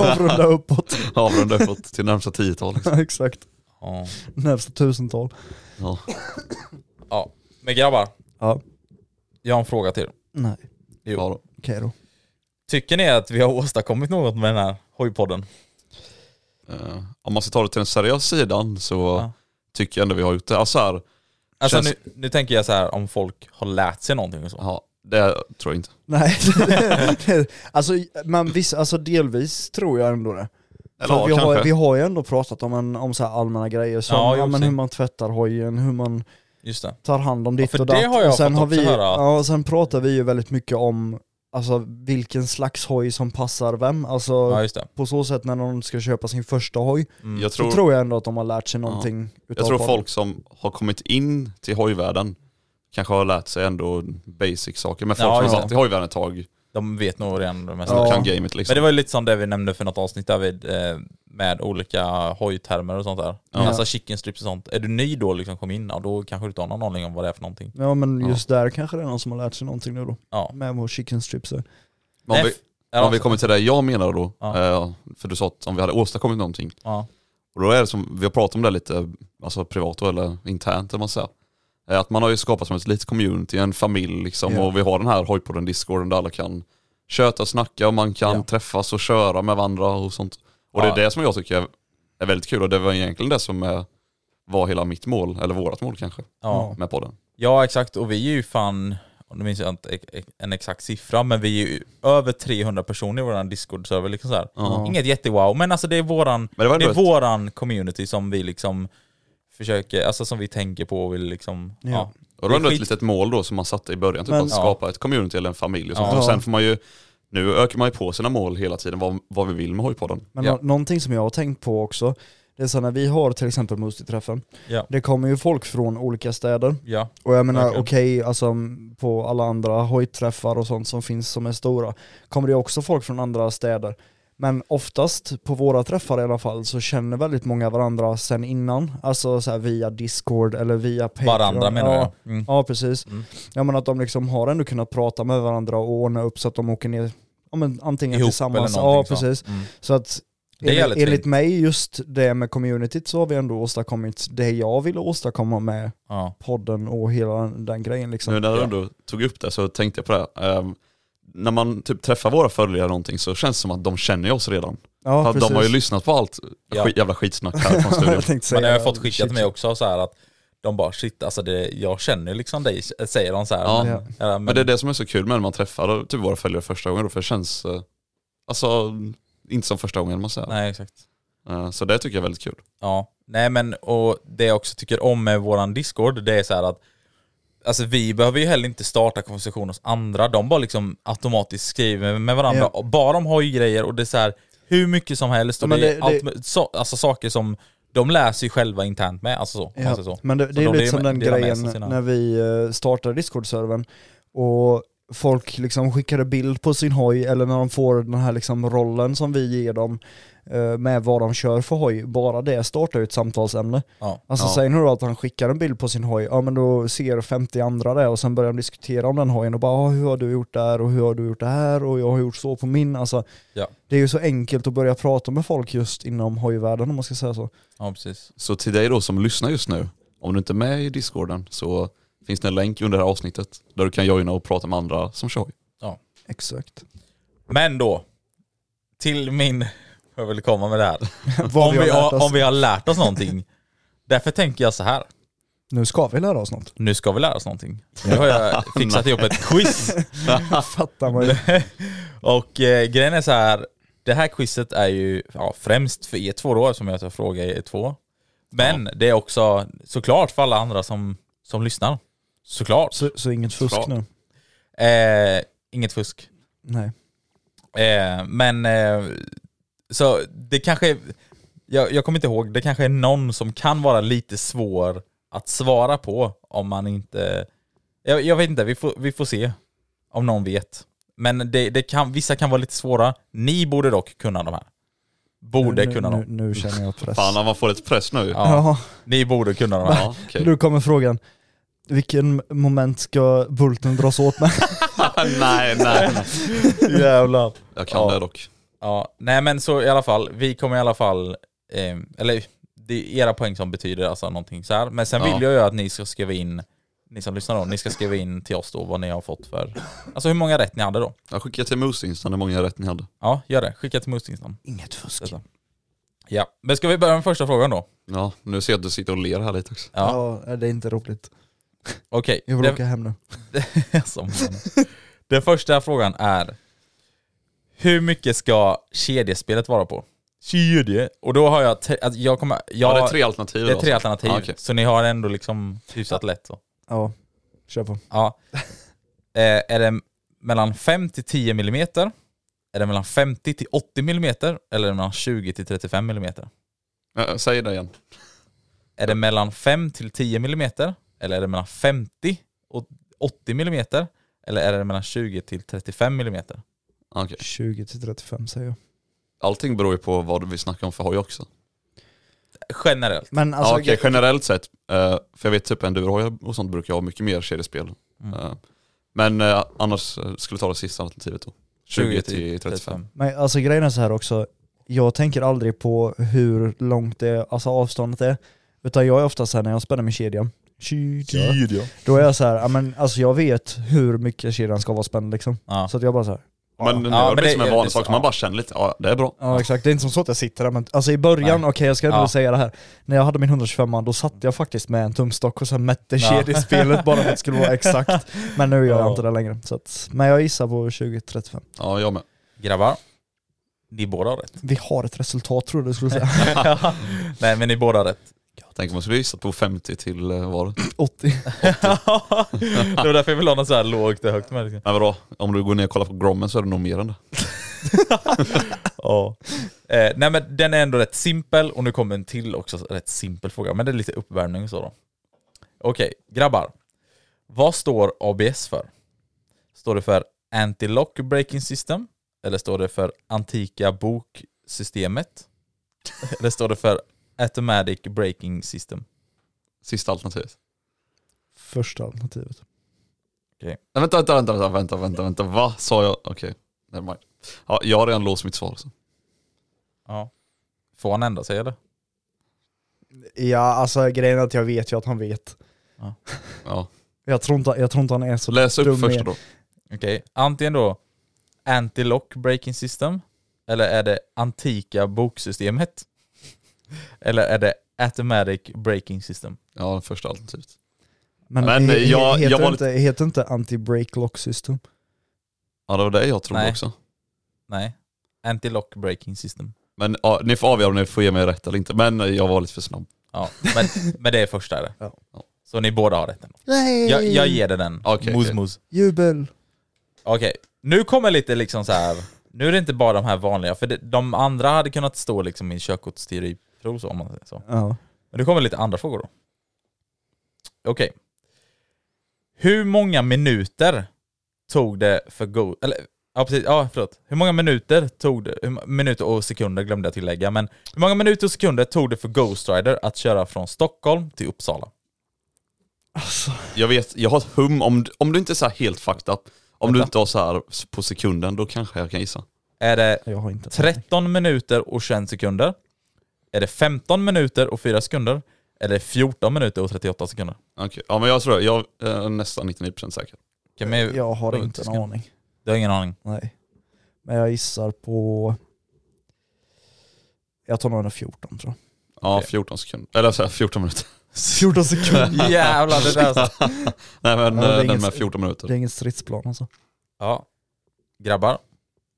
Speaker 3: Avrunda uppåt.
Speaker 4: Avrunda uppåt till närmsta tiotal. Liksom.
Speaker 3: Exakt.
Speaker 2: ja.
Speaker 3: Närmsta tusental.
Speaker 4: Ja.
Speaker 2: ja. Men grabbar,
Speaker 3: Ja.
Speaker 2: jag har en fråga till.
Speaker 3: Nej.
Speaker 2: Jo.
Speaker 4: Ja, då.
Speaker 3: Okej då.
Speaker 2: Tycker ni att vi har åstadkommit något med den här hojpodden?
Speaker 4: Eh, om man ska ta det till den seriösa sidan så
Speaker 2: Ja.
Speaker 4: tycker jag ändå vi har gjort det. Alltså här,
Speaker 2: Alltså
Speaker 4: Känns-
Speaker 2: nu, nu tänker jag så här om folk har lärt sig någonting och så.
Speaker 4: ja, det tror jag inte.
Speaker 3: Nej. alltså, man visst, alltså delvis tror jag ändå det.
Speaker 4: Eller
Speaker 3: För
Speaker 4: ja,
Speaker 3: vi, har,
Speaker 4: kanske.
Speaker 3: vi har ju ändå pratat om, en, om så här allmänna grejer som
Speaker 2: Ja,
Speaker 3: ja,
Speaker 2: jo,
Speaker 3: men
Speaker 2: precis.
Speaker 3: hur man tvättar hojen, hur man
Speaker 2: Just det.
Speaker 3: tar hand om ditt
Speaker 2: för
Speaker 3: och
Speaker 2: det
Speaker 3: datt.
Speaker 2: har jag
Speaker 3: och
Speaker 2: fått också
Speaker 3: vi,
Speaker 2: höra att-
Speaker 3: Ja, och sen pratar vi ju väldigt mycket om alltså, vilken slags hoj som passar vem. Alltså,
Speaker 2: Ja just det.
Speaker 3: På så sätt när någon ska köpa sin första hoj
Speaker 2: Mm.
Speaker 4: Jag
Speaker 3: så
Speaker 4: tror,
Speaker 3: tror jag ändå att de har lärt sig någonting utav
Speaker 4: jag tror
Speaker 3: podden.
Speaker 4: folk som har kommit in till hojvärlden kanske har lärt sig ändå basic saker. Men folk
Speaker 2: Ja,
Speaker 4: som
Speaker 2: just
Speaker 4: har
Speaker 2: det.
Speaker 4: varit i hojvärlden ett tag
Speaker 2: De vet nog redan det mesta.
Speaker 3: Ja.
Speaker 4: kan gamet liksom.
Speaker 2: Men det var ju lite som det vi nämnde för något avsnitt David, eh, med olika hojtermer och sånt där.
Speaker 4: Ja.
Speaker 2: Alltså chicken strips och sånt. Är du ny då liksom kom in, ja, då kanske du inte har någon aning om vad det är för någonting.
Speaker 3: Ja men just där kanske det är någon som har lärt sig någonting nu då.
Speaker 2: Ja.
Speaker 3: Med vår chicken strips. här.
Speaker 4: Men om,
Speaker 2: Nej,
Speaker 4: vi,
Speaker 2: Ja,
Speaker 4: om vi kommer till det jag menar då,
Speaker 2: Ja.
Speaker 4: eh, för du sa att om vi hade åstadkommit någonting.
Speaker 2: Ja.
Speaker 4: Och då är det som, vi har pratat om det lite alltså privat då, eller internt eller vad man säger. Eh, Att man har ju skapat som ett litet community, en familj liksom
Speaker 3: Ja.
Speaker 4: och vi har den här hojpodden discorden där alla kan köta och snacka och man kan
Speaker 2: Ja.
Speaker 4: träffas och köra med varandra och sånt. Och
Speaker 2: Ja.
Speaker 4: det är det som jag tycker är, är väldigt kul och det var egentligen det som eh, var hela mitt mål, eller vårat mål kanske,
Speaker 2: Ja.
Speaker 4: med podden.
Speaker 2: ja exakt, och vi är ju fan, nu minns jag inte ex- ex- en exakt siffra, men vi är ju över 300 personer i våran Discord-server. Liksom så här. Inget jättewow, men alltså det är våran,
Speaker 4: Men det var
Speaker 2: det
Speaker 4: ändå
Speaker 2: är
Speaker 4: ett-
Speaker 2: våran community som vi liksom försöker, alltså som vi tänker på och vill liksom, ja.
Speaker 4: Och då är det
Speaker 2: Det är
Speaker 4: ett
Speaker 2: skit-
Speaker 4: litet mål då som man satte i början, typ
Speaker 3: Men-
Speaker 4: att skapa ett community eller en familj och sånt.
Speaker 3: Ja.
Speaker 4: Och sen får man ju, nu ökar man ju på sina mål hela tiden, vad, vad vi vill med hojpodden.
Speaker 3: Men
Speaker 2: Ja.
Speaker 3: nå- någonting som jag har tänkt på också, det är så här när vi har till exempel Musti-träffen,
Speaker 2: Ja.
Speaker 3: det kommer ju folk från olika städer.
Speaker 2: ja.
Speaker 3: Och jag menar okej,
Speaker 2: Verkligen.
Speaker 3: alltså på alla andra hojträffar och sånt som finns som är stora, kommer det också folk från andra städer. Men oftast, på våra träffar i alla fall, så känner väldigt många varandra sen innan. Alltså så här via Discord eller via Patreon.
Speaker 2: Varandra menar
Speaker 3: ja.
Speaker 2: jag. Mm.
Speaker 3: Ja precis. Ja men att de liksom har ändå kunnat prata med varandra och ordna upp så att de åker ner, ja men antingen
Speaker 2: Ihop
Speaker 3: tillsammans,
Speaker 2: eller någonting
Speaker 3: ja
Speaker 2: så.
Speaker 3: precis. Så,
Speaker 2: Mm.
Speaker 3: att
Speaker 2: Det är
Speaker 3: enligt,
Speaker 2: jävligt
Speaker 3: enligt
Speaker 2: fint.
Speaker 3: mig just det med communityt så har vi ändå åstadkommit det jag ville åstadkomma med
Speaker 2: Ja.
Speaker 3: podden och hela den grejen liksom.
Speaker 4: Nu när du ändå tog upp det så tänkte jag på det. Ehm, när man typ träffar våra följare eller någonting så känns det som att de känner oss redan.
Speaker 3: Ja,
Speaker 4: För att de har ju lyssnat på allt
Speaker 2: Ja.
Speaker 4: skit, jävla skitsnack här från studion.
Speaker 3: Jag tänkte säga,
Speaker 2: Men det har jag fått skickat
Speaker 3: shit.
Speaker 2: till mig också så här att de bara shit alltså det, jag känner liksom dig, säger de så här.
Speaker 4: Ja.
Speaker 2: Men, eller, men,
Speaker 4: Men det är det som är så kul med när man träffar typ våra följare första gången då, för det känns eh, alltså, inte som första gången man säger.
Speaker 2: Nej exakt.
Speaker 4: Eh, så det tycker jag är väldigt kul.
Speaker 2: Ja. Nej men och det jag också tycker om med våran Discord det är så här att Alltså vi behöver ju heller inte starta konversationer hos andra, de bara liksom automatiskt skriver med varandra.
Speaker 3: Ja.
Speaker 2: Och Bara de har ju grejer och det är så här hur mycket som helst. Och
Speaker 3: Ja, men
Speaker 2: det, är
Speaker 3: det-
Speaker 2: allt,
Speaker 3: det-
Speaker 2: med- så, alltså saker som de läser ju själva internt med. Alltså så, om man
Speaker 3: Ja,
Speaker 2: säger så.
Speaker 3: Men det,
Speaker 2: Så
Speaker 3: det är
Speaker 2: de
Speaker 3: lite som den
Speaker 2: delar med
Speaker 3: grejen
Speaker 2: sig sina-
Speaker 3: när vi eh, startade Discord-servern och folk liksom skickade bild på sin hoj eller när de får den här liksom rollen som vi ger dem eh, med vad de kör för hoj, bara det startar ju ett samtalsämne.
Speaker 2: Ja.
Speaker 3: Alltså
Speaker 4: Ja.
Speaker 3: säg nu då att han skickar en bild på sin hoj, ja men då ser 50 andra det och sen börjar de diskutera om den hojen och bara ah, hur har du gjort där och hur har du gjort det här och jag har gjort så på min. Alltså,
Speaker 2: Ja.
Speaker 3: Det är ju så enkelt att börja prata med folk just inom hojvärlden om man ska säga så.
Speaker 2: ja, precis.
Speaker 4: Så till dig då som lyssnar just nu, om du inte är med i discorden så finns det en länk under det här avsnittet där du kan joina och prata med andra som kör.
Speaker 3: Exakt.
Speaker 2: Men då, till min... Jag vill komma med det här.
Speaker 3: Vad
Speaker 2: om, vi
Speaker 3: lärt
Speaker 2: har,
Speaker 3: oss.
Speaker 2: om vi har lärt oss någonting. Därför tänker jag så här.
Speaker 3: Nu ska vi lära oss något.
Speaker 2: Nu ska vi lära oss någonting. Nu har jag fixat ihop ett quiz.
Speaker 3: Fattar man ju.
Speaker 2: Och eh, grejen är så här. Det här quizet är ju ja, främst för er två då, eftersom jag tar fråga er två. Men det är också såklart för alla andra som, som lyssnar. Såklart.
Speaker 3: Så, så inget fusk
Speaker 4: Klart.
Speaker 3: nu.
Speaker 2: Eh, inget fusk.
Speaker 3: Nej.
Speaker 2: Eh, men eh, så det kanske, jag, jag kommer inte ihåg, det kanske är någon som kan vara lite svår att svara på om man inte, jag, jag vet inte, vi får, vi får se om någon vet. Men det, det kan, vissa kan vara lite svåra, ni borde dock kunna de här. Borde
Speaker 3: nu,
Speaker 2: kunna
Speaker 3: nu,
Speaker 2: dem.
Speaker 3: nu känner jag press.
Speaker 4: Fan man får lite press nu.
Speaker 2: Ja.
Speaker 3: Ja,
Speaker 2: Ni borde kunna de här.
Speaker 4: Ja, okej.
Speaker 3: nu kommer frågan. Vilken moment ska bulten dras åt med?
Speaker 4: nej, nej. nej.
Speaker 3: Jävlar.
Speaker 4: Jag kan
Speaker 2: Ja.
Speaker 4: det dock.
Speaker 2: Ja, nej men så i alla fall, vi kommer i alla fall, eh, eller det är era poäng som betyder alltså någonting så här. Men sen
Speaker 4: Ja.
Speaker 2: vill jag ju att ni ska skriva in, ni som lyssnar då, ni ska skriva in till oss då vad ni har fått för, alltså hur många rätt ni hade då.
Speaker 4: Jag skickar till Mooseinstan hur många rätt ni hade.
Speaker 2: Ja, gör det. Skicka till Moostingson.
Speaker 3: Inget fusk.
Speaker 2: Detta. Ja, men ska vi börja med första frågan då?
Speaker 4: Ja, nu ser jag att du sitter och ler här lite också.
Speaker 2: Ja,
Speaker 3: Ja. det är inte roligt.
Speaker 2: okej.
Speaker 3: Jag vill
Speaker 2: Det-
Speaker 3: åka hem nu.
Speaker 2: Som fan. Den första frågan är Hur mycket ska kedjespelet vara på? Kedje? Och då har jag, te- alltså jag kommer, jag,
Speaker 4: Ja, det är tre alternativ.
Speaker 2: Det är
Speaker 4: alltså.
Speaker 2: tre alternativ,
Speaker 4: Ja, okej.
Speaker 2: så ni har ändå liksom hyfsat lätt. Så.
Speaker 3: Ja, kör på.
Speaker 2: Ja. Eh, är det mellan 5 till 10 mm? Är det mellan 50 till 80 mm? Eller är det mellan 20 till 35 mm?
Speaker 4: Ja, Säg det igen.
Speaker 2: Är det mellan 5 till 10 mm? Eller är det mellan 50 och 80 mm? Eller är det mellan 20 till 35 mm?
Speaker 4: Okej.
Speaker 3: 20 till 35 säger jag.
Speaker 4: Allting beror ju på vad vi snackar om för hoj också.
Speaker 2: Generellt.
Speaker 3: Men alltså,
Speaker 4: ja, okej, generellt sett, eh, för jag vet typ endurohojar och sånt brukar jag ha mycket mer kedjespel.
Speaker 2: Mm.
Speaker 4: Eh, Men eh, annars eh, skulle jag ta det sista alternativet då. 20 till 35.
Speaker 3: men alltså grejen är så här också, jag tänker aldrig på hur långt det, alltså avståndet är. Utan jag är ofta så här när jag spänner med kedjan, kedja, då är jag så här, ja, men alltså jag vet hur mycket kedjan ska vara spänd liksom.
Speaker 2: Ja.
Speaker 3: Så att jag bara så här,
Speaker 4: Men nu
Speaker 2: Ja,
Speaker 4: gör
Speaker 2: men
Speaker 4: det
Speaker 2: det-
Speaker 4: som en
Speaker 2: det-
Speaker 4: vanlig sak som man
Speaker 2: ja.
Speaker 4: bara känner lite, ja det är bra.
Speaker 3: Ja exakt, det är inte som så att jag sitter där men alltså i början, okej jag ska
Speaker 2: Ja.
Speaker 3: ja. säga det här När jag hade min 125 då satt jag faktiskt med en tumstock och sen mätte
Speaker 2: Ja.
Speaker 3: kedjespelet bara för att det skulle vara exakt Men nu gör
Speaker 2: Ja.
Speaker 3: jag inte det längre, så att, men jag gissar på 20-35
Speaker 4: Ja, jag med.
Speaker 2: Grabbar, ni båda har rätt.
Speaker 3: Vi har ett resultat tror du du skulle säga,
Speaker 2: Nej men ni båda har rätt.
Speaker 4: Tänk om man skulle gissat på 50 till eh, vad var det?
Speaker 3: 80
Speaker 2: det var därför jag ville ha något så här lågt och högt med. Liksom.
Speaker 4: Nej vadå, om du går ner och kollar på Grommen så är det nog mer än det.
Speaker 2: Ja. Eh, nej men den är ändå rätt simpel och nu kommer en till också rätt simpel fråga. Men det är lite uppvärmning och så då. Okej, grabbar. Vad står ABS för? Står det för Anti-Lock Braking System? Eller står det för Antika Boksystemet? Eller står det för Automatic Braking System?
Speaker 4: Sista alternativet.
Speaker 3: Första alternativet
Speaker 4: Nej, vänta, vänta, vänta, vänta, vänta, vänta, vänta. vad sa jag? Okej, nevermind. Ja, jag har redan låst mitt svar. Så.
Speaker 2: Ja. Får han ändra sig eller?
Speaker 3: Ja alltså grejen är att jag vet ju att han vet
Speaker 4: Ja.
Speaker 3: Jag tror inte, jag tror inte han är så
Speaker 4: Läs upp
Speaker 3: dum
Speaker 4: första
Speaker 3: är-
Speaker 4: då.
Speaker 2: Okej, antingen då anti-lock braking system, eller är det antika boksystemet? eller är det automatic braking system?
Speaker 4: Ja, första alternativet.
Speaker 3: Men,
Speaker 4: Men
Speaker 3: he- he-
Speaker 4: jag-
Speaker 3: heter,
Speaker 4: jag var
Speaker 3: inte, heter inte anti-break lock system?
Speaker 4: Ja, det var det jag trodde
Speaker 2: Nej.
Speaker 4: också.
Speaker 2: Nej, anti-lock braking system.
Speaker 4: Men ja, ni får avgöra om ni får ge mig rätt eller inte. Men eh, jag var lite för snabb.
Speaker 2: Ja, men, men det är första är det.
Speaker 3: Ja.
Speaker 2: Så ni båda har rätt ändå.
Speaker 3: Nej!
Speaker 2: Jag, jag ger dig den.
Speaker 4: Okej,
Speaker 2: mus,
Speaker 4: okej.
Speaker 2: mus.
Speaker 3: Jubel!
Speaker 2: Okej, nu kommer lite liksom så här. Nu är det inte bara de här vanliga, för det, de andra hade kunnat stå liksom i körkortsteoriprov så om man säger så.
Speaker 3: Ja.
Speaker 2: Men det kommer lite andra frågor då. Okej. Hur många minuter tog det för Go... Eller, ja precis, ja förlåt. Hur många minuter tog det... Hur, ma- minuter och sekunder glömde jag tillägga, men hur många minuter och sekunder tog det för Ghost Rider att köra från Stockholm till Uppsala?
Speaker 4: Jag vet, jag har ett hum om, om du inte är så här helt fucked up. Om du
Speaker 2: Vänta.
Speaker 4: inte har så här på sekunden, då kanske jag kan gissa.
Speaker 2: Är det
Speaker 3: Jag har inte
Speaker 2: 13 minuter och 21 sekunder? Är det 15 minuter och 4 sekunder? Eller 14 minuter och 38 sekunder?
Speaker 4: Okej, Ja men jag tror jag är nästan 99% säker.
Speaker 2: Kan vi-
Speaker 3: Jag har inte en aning
Speaker 2: Du har ingen aning?
Speaker 3: Nej. Men jag gissar på... Jag tar nog den 14 tror jag.
Speaker 4: Ja,
Speaker 2: Okej.
Speaker 4: 14 sekunder. Eller så här, 14 minuter.
Speaker 3: 14 sekunder?
Speaker 2: Jävlar, det där alltså.
Speaker 4: Nej men
Speaker 3: Ja, det är
Speaker 4: eh, den
Speaker 3: ingen-
Speaker 4: med 14
Speaker 3: Det
Speaker 4: minuter.
Speaker 3: är ingen stridsplan alltså.
Speaker 2: Ja. Grabbar,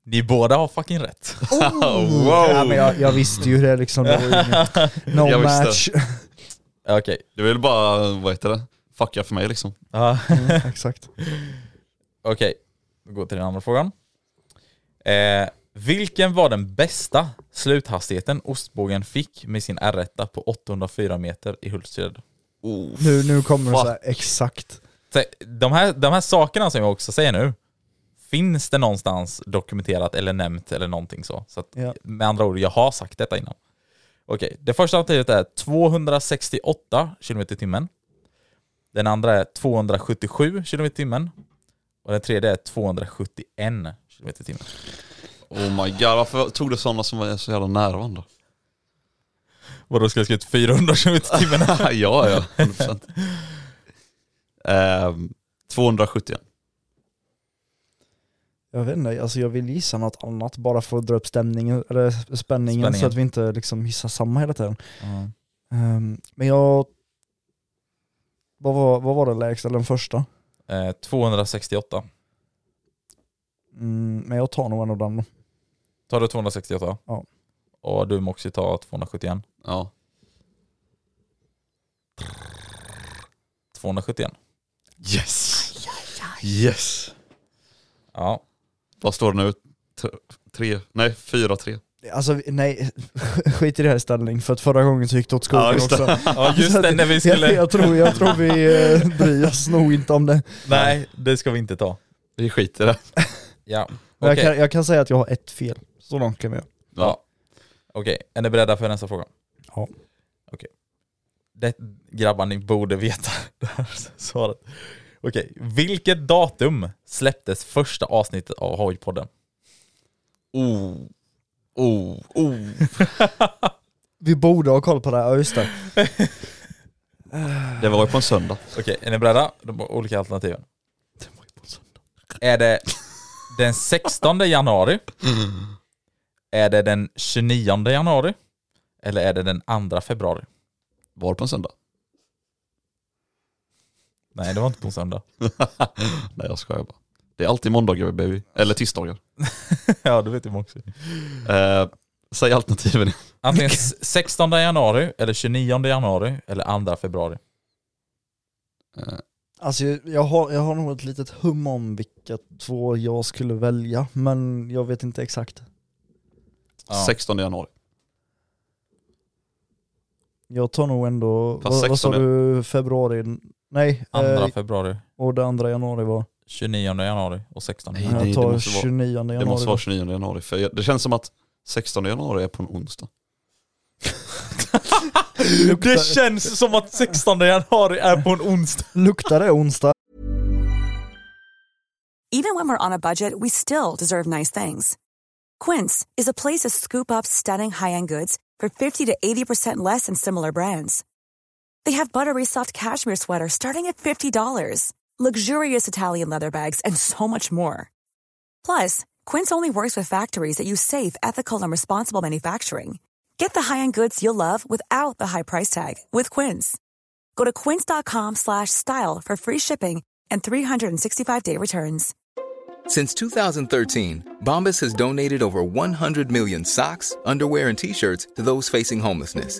Speaker 2: ni båda har fucking rätt.
Speaker 4: Oh, wow!
Speaker 3: Ja, men jag, jag visste ju det liksom. Det var ju inget- No
Speaker 4: Jag visste.
Speaker 3: match.
Speaker 2: Ja, Okej.
Speaker 4: Det vill bara, vad heter det, fucka för mig liksom.
Speaker 2: Ja,
Speaker 3: Mm, Exakt.
Speaker 2: Okej, vi går till den andra frågan. Eh, vilken var den bästa sluthastigheten ostbågen fick med sin R1 på 804 meter i Hultsfred?
Speaker 4: Oh,
Speaker 3: Nu, nu kommer det
Speaker 4: fuck.
Speaker 3: så här, exakt.
Speaker 2: Se- De här, de här sakerna som jag också säger nu, finns det någonstans dokumenterat eller nämnt eller någonting så? så att,
Speaker 3: Ja.
Speaker 2: Med andra ord, jag har sagt detta innan. Okej, det första alternativet är 268 km i timmen. Den andra är 277 km i timmen. Och den tredje är 271 km i timmen.
Speaker 4: oh my god, varför tog du sådana som var så jävla nära varandra?
Speaker 2: Vadå, ska jag skriva 400 km i timmen?
Speaker 4: ja, ja, 100%. Ehm, 271.
Speaker 3: Jag vet inte, alltså jag vill gissa något annat bara för att dra upp stämningen, eller spänningen, så
Speaker 2: Spänningen.
Speaker 3: att vi inte liksom hissar samma hela tiden.
Speaker 2: Mm.
Speaker 3: Ehm, men jag... Vad var, vad var det lägsta, eller den första?
Speaker 2: Eh, 268.
Speaker 3: Mm, men jag tar nog en av dem.
Speaker 2: Tar du 268?
Speaker 3: Ja.
Speaker 2: Och du måste ju ta 271.
Speaker 4: Ja.
Speaker 2: 271.
Speaker 4: Yes! Yes!
Speaker 2: Ja.
Speaker 4: Vad står det nu? T- Tre, nej fyra, tre.
Speaker 3: Alltså vi- nej, skit i det här ställning för att förra gången så gick det åt skogen
Speaker 4: Ja, just det.
Speaker 3: också.
Speaker 2: Ja just det, när vi skulle...
Speaker 3: Jag, jag, tror, jag tror vi eh, bryr oss nog inte om det.
Speaker 2: Nej, det ska vi inte ta.
Speaker 4: Vi skiter i det.
Speaker 2: Ja.
Speaker 3: Men
Speaker 2: Okej,
Speaker 3: Jag, kan, jag kan säga att jag har ett fel. Så långt kan vi göra.
Speaker 2: ja. Okej, är ni beredda för nästa fråga?
Speaker 3: Ja.
Speaker 2: Okej. Det, grabbar, ni borde veta det här svaret. Okej, vilket datum släpptes första avsnittet av Hojpodden?
Speaker 4: Oh, oh, oh.
Speaker 3: Vi borde ha koll på det här, ja just det.
Speaker 4: Det var ju på en söndag.
Speaker 2: Okej, är ni beredda? De olika alternativen. Är det den 16 januari? Är det den 29 januari? Eller är det den 2 februari?
Speaker 4: Var det på en söndag?
Speaker 2: Nej, det var inte på en söndag.
Speaker 4: nej jag skojar bara. Det är alltid måndagar baby. Eller tisdagar.
Speaker 2: ja, det vet jag också.
Speaker 4: Eh, säg alternativen.
Speaker 2: Antingen s- 16 januari, eller 29 januari, eller 2 februari.
Speaker 4: Eh,
Speaker 3: Alltså jag- jag har, jag har nog ett litet hum om vilka två jag skulle välja, men jag vet inte exakt.
Speaker 2: Ja.
Speaker 4: 16 Eh, januari.
Speaker 3: Jag tar nog ändå,
Speaker 4: Fast
Speaker 3: vad, vad sa
Speaker 4: 16
Speaker 3: du, februari? Nej, eh,
Speaker 2: 2 februari,
Speaker 3: och det andra januari var?
Speaker 2: 29 januari och 16
Speaker 4: Nej,
Speaker 2: januari.
Speaker 4: nej, det
Speaker 3: jag tar
Speaker 4: måste vara-
Speaker 3: 29 januari.
Speaker 4: Det måste vara 29 januari. För jag- det känns som att 16 januari är på en onsdag.
Speaker 2: Det känns som att 16 januari är på en onsdag.
Speaker 3: Luktar det onsdag?
Speaker 6: Even when we're on a budget, we still deserve nice things. Quince is a place to scoop up stunning high-end goods for 50 to 80% less than similar brands. They have buttery soft cashmere sweaters starting at $50, luxurious Italian leather bags, and so much more. Plus, Quince only works with factories that use safe, ethical, and responsible manufacturing. Get the high-end goods you'll love without the high price tag with Quince. Go to quince.com/style slash style for free shipping and 365-day returns.
Speaker 5: Since 2013, Bombas has donated over 100 million socks, underwear, and t shirts to those facing homelessness.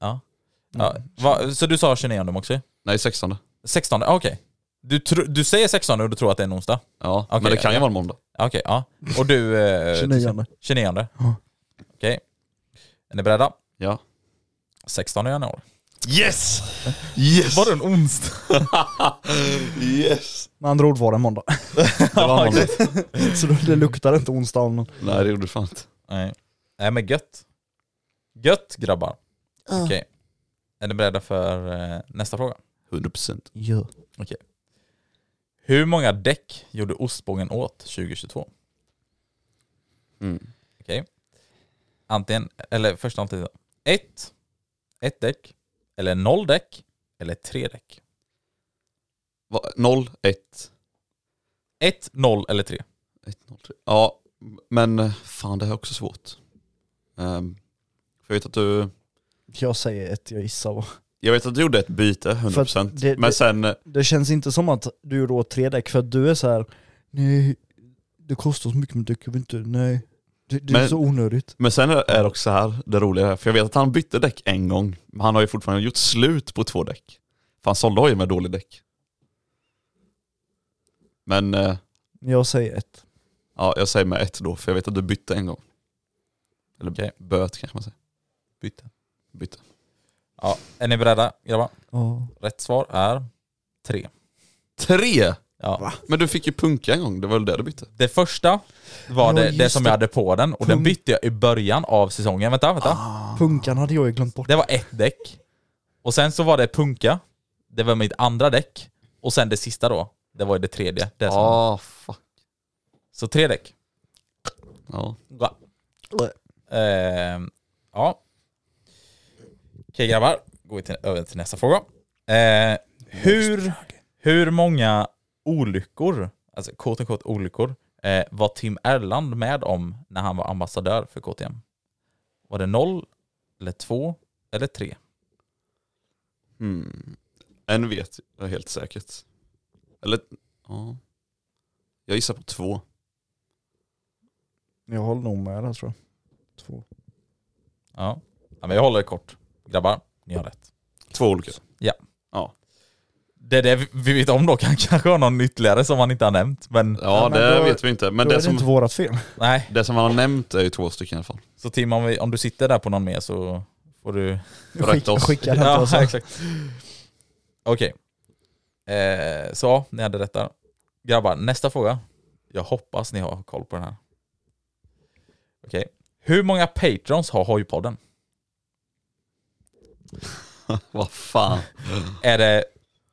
Speaker 2: Ja. Ja. Va, så du sa 29 också?
Speaker 4: Nej 16.
Speaker 2: 16, ah, okej. Du, tr- du säger 16 och du tror att det är en onsdag?
Speaker 4: Ja,
Speaker 2: Okej,
Speaker 4: men det kan
Speaker 2: ja.
Speaker 4: ju vara en måndag.
Speaker 2: Ah, Okej, ja. Och du... Eh,
Speaker 3: 29.
Speaker 2: 29. Okej. Är ni beredda?
Speaker 4: Ja.
Speaker 2: 16 januari.
Speaker 4: Yes! Yes!
Speaker 2: Var det en onsdag?
Speaker 4: Yes!
Speaker 3: Med andra ord var det måndag.
Speaker 4: Det var en måndag.
Speaker 3: Så då- det luktar inte onsdag om någon.
Speaker 4: Nej det gjorde det fan inte.
Speaker 2: Nej. Nej men gött. Gött grabbar. Okej. Är ni beredda för eh, nästa fråga?
Speaker 4: 100%.
Speaker 3: Ja.
Speaker 2: Hur många däck gjorde ostbågen åt 2022?
Speaker 4: Mm.
Speaker 2: Antingen, eller första alternativet. Ett, ett däck. eller noll däck, eller tre däck?
Speaker 4: Va- noll ett
Speaker 2: Ett, noll eller tre.
Speaker 4: ett noll tre Ja, men eh, fan det här är också svårt. Ehm, för jag vet att du...
Speaker 3: Jag säger ett, jag gissar på.
Speaker 4: Jag vet att du gjorde ett byte, 100%.
Speaker 3: För att det-
Speaker 4: men
Speaker 3: det-
Speaker 4: sen, eh,
Speaker 3: Det känns inte som att du gjorde åt tre däck för att du är så här. nej, det kostar så mycket med däck, jag vill inte, nej. Det, det är
Speaker 4: Men-
Speaker 3: så onödigt.
Speaker 4: men sen är det också så här det roliga här, för jag vet att han bytte däck en gång, men han har ju fortfarande gjort slut på två däck. För han sålde hojen med dålig däck. Men eh,
Speaker 3: Jag säger ett.
Speaker 4: ja, jag säger med ett då, för jag vet att du bytte en gång. Eller
Speaker 2: Okej.
Speaker 4: böt kanske man säger.
Speaker 2: Byte.
Speaker 4: Bytte.
Speaker 2: Ja, är ni beredda grabbar?
Speaker 3: Ja.
Speaker 2: Rätt svar är tre.
Speaker 4: Tre!
Speaker 2: Ja.
Speaker 4: Men du fick ju punka en gång, det var väl det du bytte?
Speaker 2: Det första var
Speaker 3: Ja,
Speaker 2: det, det
Speaker 3: just
Speaker 2: som
Speaker 3: det.
Speaker 2: jag hade på den och den
Speaker 3: Punkt.
Speaker 2: bytte jag i början av säsongen. Vänta, vänta.
Speaker 3: Ah, Punkan hade jag ju glömt bort.
Speaker 2: Det var ett däck. Och sen så var det punka. Det var mitt andra däck. Och sen det sista då. Det var ju det tredje. Det som,
Speaker 4: Ah, fuck.
Speaker 2: Så tre däck.
Speaker 4: Ja.
Speaker 2: Ja. Ehm, ja. Okej grabbar, går vi till, över till nästa fråga. Eh, hur, hur många olyckor, alltså KTK olyckor, eh, var Tim Erland med om när han var ambassadör för KTM? Var det noll, eller två, eller tre?
Speaker 4: Hmm. En vet jag helt säkert. Eller, ja. Jag gissar på två.
Speaker 3: Jag håller nog med där tror jag. Två.
Speaker 2: Ja. ja, men jag håller det kort. Grabbar, ni har rätt.
Speaker 4: Två olika.
Speaker 2: Det är det vi- vi vet om då, kan kanske har någon ytterligare som han inte har nämnt, men
Speaker 4: Ja,
Speaker 3: Ja, men
Speaker 4: det
Speaker 3: då-
Speaker 4: vet vi inte. Men
Speaker 3: Då är
Speaker 4: det
Speaker 3: det
Speaker 4: som,
Speaker 3: inte vårat fel.
Speaker 2: nej.
Speaker 4: det som han har nämnt är ju två stycken i alla fall.
Speaker 2: Så Tim, om, vi, om du sitter där på någon mer så får du...
Speaker 4: Rätta
Speaker 3: Skicka,
Speaker 4: oss.
Speaker 3: skicka den till oss. här.
Speaker 2: exakt. Okej. Eh, så, ja, ni hade rätt där. Grabbar, nästa fråga. Jag hoppas ni har koll på den här. Okej. Hur många patrons har Hojpodden?
Speaker 4: Vad fan.
Speaker 2: Är det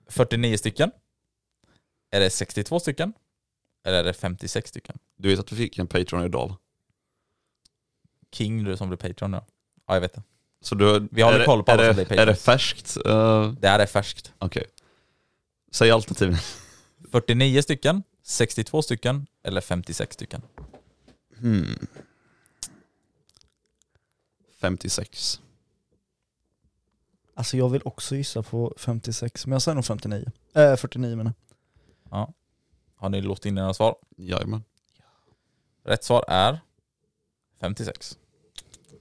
Speaker 2: 49 stycken? Är det 62 stycken? Eller är det 56 stycken?
Speaker 4: Du vet att vi fick en Patreon idag va?
Speaker 2: King du som blir Patreon nu. Ja, jag vet det.
Speaker 4: Så du,
Speaker 2: Vi håller
Speaker 4: är det-
Speaker 2: koll på alla
Speaker 4: är
Speaker 2: som
Speaker 4: det,
Speaker 2: blir
Speaker 4: Är det
Speaker 2: Patrons.
Speaker 4: färskt? Eh,
Speaker 2: Det här är färskt.
Speaker 4: Okej. Säg alternativen.
Speaker 2: 49 stycken, 62 stycken eller 56 stycken?
Speaker 4: Hmm. 56.
Speaker 3: Alltså jag vill också gissa på 56, men jag säger nog 59. Äh, 49 menar
Speaker 2: Har ni låst in era svar?
Speaker 4: Jajamän.
Speaker 2: Rätt svar är 56.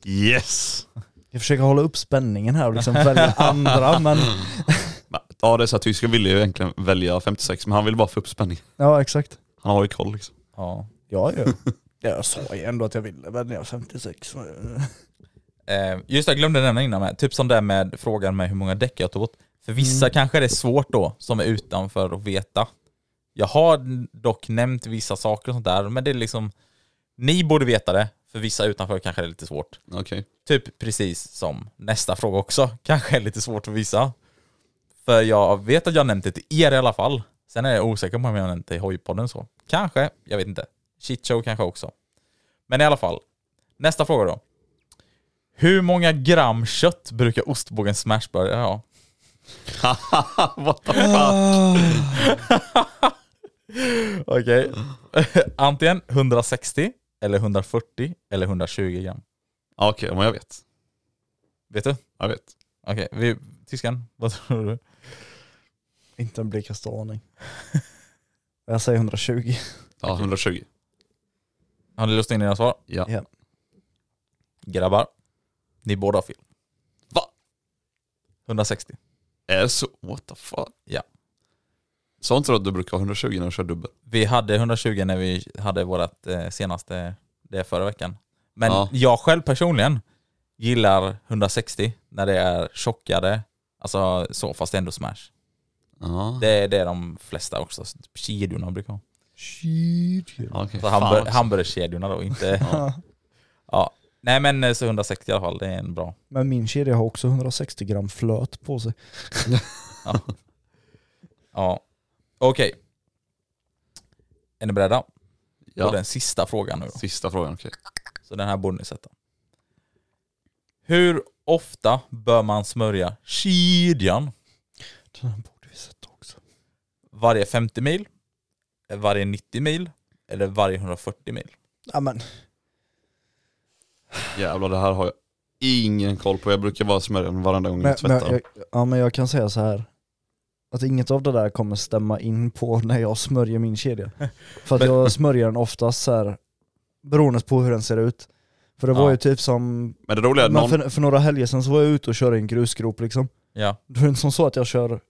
Speaker 4: Yes!
Speaker 3: Jag försöker hålla upp spänningen här och liksom välja andra, men
Speaker 4: Ja det är så att tysken ville ju egentligen välja 56 men han ville bara få upp spänning.
Speaker 3: ja exakt.
Speaker 4: Han har ju koll liksom.
Speaker 2: Ja.
Speaker 3: Ja, ja. Jag sa ju ändå att jag ville välja 56.
Speaker 2: Eh, just det, jag glömde nämna innan med. Typ som det med frågan med hur många däck jag tog åt. För vissa kanske det är svårt då, som är utanför att veta. Jag har dock nämnt vissa saker och sånt där, men det är liksom... Ni borde veta det, för vissa utanför kanske det är lite svårt.
Speaker 4: Okej.
Speaker 2: Typ precis som nästa fråga också, kanske är lite svårt för vissa. För jag vet att jag har nämnt det till er i alla fall. Sen är jag osäker på om jag har nämnt det i hojpodden så. Kanske, jag vet inte. Shitshow kanske också. Men i alla fall. Nästa fråga då. Hur många gram kött brukar ostbågens smashburgare ha?
Speaker 4: What the fuck?
Speaker 2: Okej. Antingen 160, eller 140, eller 120 gram.
Speaker 4: Ja, Okej, men jag vet.
Speaker 2: Vet du?
Speaker 4: Jag vet.
Speaker 2: Okej, vi... tyskan, vad tror du?
Speaker 3: Inte en blekaste aning. Jag säger 120.
Speaker 4: Ja, 120.
Speaker 2: Har ni lust in era svar?
Speaker 4: Ja.
Speaker 3: Ja.
Speaker 2: Grabbar, ni båda har fel.
Speaker 4: Va?
Speaker 2: 160.
Speaker 4: Är det Eh, så? What the fuck?
Speaker 2: Ja.
Speaker 4: Sa inte du att du brukar ha 120 när du kör dubbel?
Speaker 2: Vi hade 120 när vi hade vårt eh, senaste, det förra veckan. Men
Speaker 4: Ja.
Speaker 2: jag själv personligen gillar 160 när det är tjockare, alltså så fast ändå smash.
Speaker 4: Ja.
Speaker 2: Det är det de flesta också, typ kedjorna brukar ha.
Speaker 4: Ja, okej.
Speaker 2: Så
Speaker 4: Fan
Speaker 2: hamburg-
Speaker 4: också.
Speaker 2: hamburgerkedjorna då, inte... ja. Nej men eh, så 160 i alla fall, det är en bra.
Speaker 3: Men min kedja har också 160 gram flöt på sig.
Speaker 2: Ja. ja. Okej. Är ni beredda? Ja.
Speaker 4: Ja.
Speaker 2: Och den sista frågan nu då.
Speaker 4: Sista frågan, okej.
Speaker 2: Så den här borde ni sätta. Hur ofta bör man smörja kedjan?
Speaker 3: Den här borde vi sett också.
Speaker 2: Varje 50 mil, eh, varje 90 mil eller varje 140 mil?
Speaker 3: Ja men,
Speaker 4: Jävlar det här har jag ingen koll på. Jag brukar bara smörja den varenda gång
Speaker 3: men,
Speaker 4: jag
Speaker 3: men,
Speaker 4: tvättar.
Speaker 3: jag, ja, men jag kan säga så här att inget av det där kommer stämma in på när jag smörjer min kedja. För att
Speaker 2: Men-
Speaker 3: jag smörjer den oftast så här beroende på hur den ser ut. För det var
Speaker 2: Ja.
Speaker 3: ju typ som,
Speaker 4: Men det roliga är att någon...
Speaker 3: men för, för några helger sedan så var jag ute och körde i en grusgrop liksom.
Speaker 2: Ja.
Speaker 3: Då är det inte som så att jag kör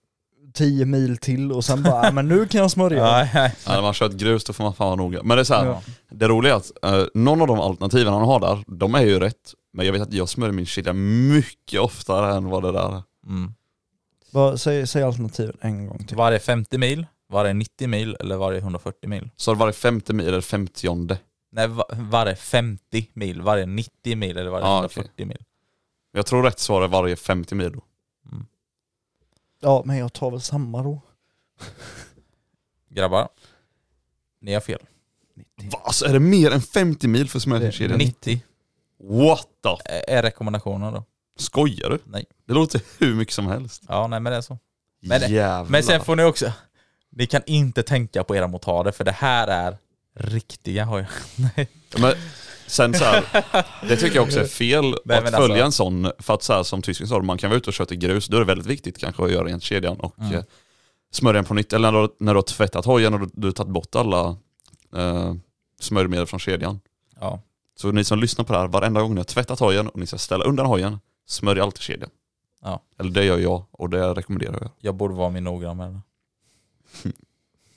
Speaker 3: 10 mil till och sen bara, "Ah, men nu kan jag smörja.
Speaker 2: Nej, nej.
Speaker 4: Ja, när man kör ett grus då får man fan vara noga. Men det är så här,
Speaker 3: Ja.
Speaker 4: det roliga är att eh, någon av de alternativen han har där, de är ju rätt. Men jag vet att jag smörjer min kedja mycket oftare än vad det där är.
Speaker 2: Mm.
Speaker 3: Bara, säg, säg alternativen en gång till.
Speaker 2: Varje 50 mil, varje 90 mil eller varje 140 mil?
Speaker 4: Så varje femte mil eller femtionde.
Speaker 2: Nej, va- varje 50 mil, varje 90 mil eller varje
Speaker 4: Ja,
Speaker 2: 140 mil.
Speaker 4: Jag tror rätt svar är varje 50 mil då.
Speaker 3: Ja men jag tar väl samma då.
Speaker 2: Grabbar, ni har fel.
Speaker 4: Va? Alltså är det mer än 50 mil för smörjningskedjan?
Speaker 2: 90
Speaker 4: What the f-
Speaker 2: är är rekommendationen då.
Speaker 4: Skojar du?
Speaker 2: Nej.
Speaker 4: Det låter hur mycket som helst.
Speaker 2: Ja, nej men det är så. Men det-
Speaker 4: Jävlar.
Speaker 2: Men sen får ni också, ni kan inte tänka på era motader för det här är riktiga har jag. Nej.
Speaker 4: Men sen så här, det tycker jag också är fel
Speaker 2: men
Speaker 4: att
Speaker 2: alltså-
Speaker 4: följa en sån, för att så här, som tysken sa, man kan vara ute och köra till grus, då är det väldigt viktigt kanske att göra rent kedjan och
Speaker 2: Mm.
Speaker 4: eh, smörja den på nytt. Eller när du, när du har tvättat hojen och du, du har tagit bort alla eh, smörjmedel från kedjan.
Speaker 2: Ja.
Speaker 4: Så ni som lyssnar på det här, varenda gång ni har tvättat hojen och ni ska ställa undan hojen, smörj alltid kedjan.
Speaker 2: Ja. Mm.
Speaker 4: Eller det gör jag och det rekommenderar jag.
Speaker 2: Jag borde vara mer noggrann med det.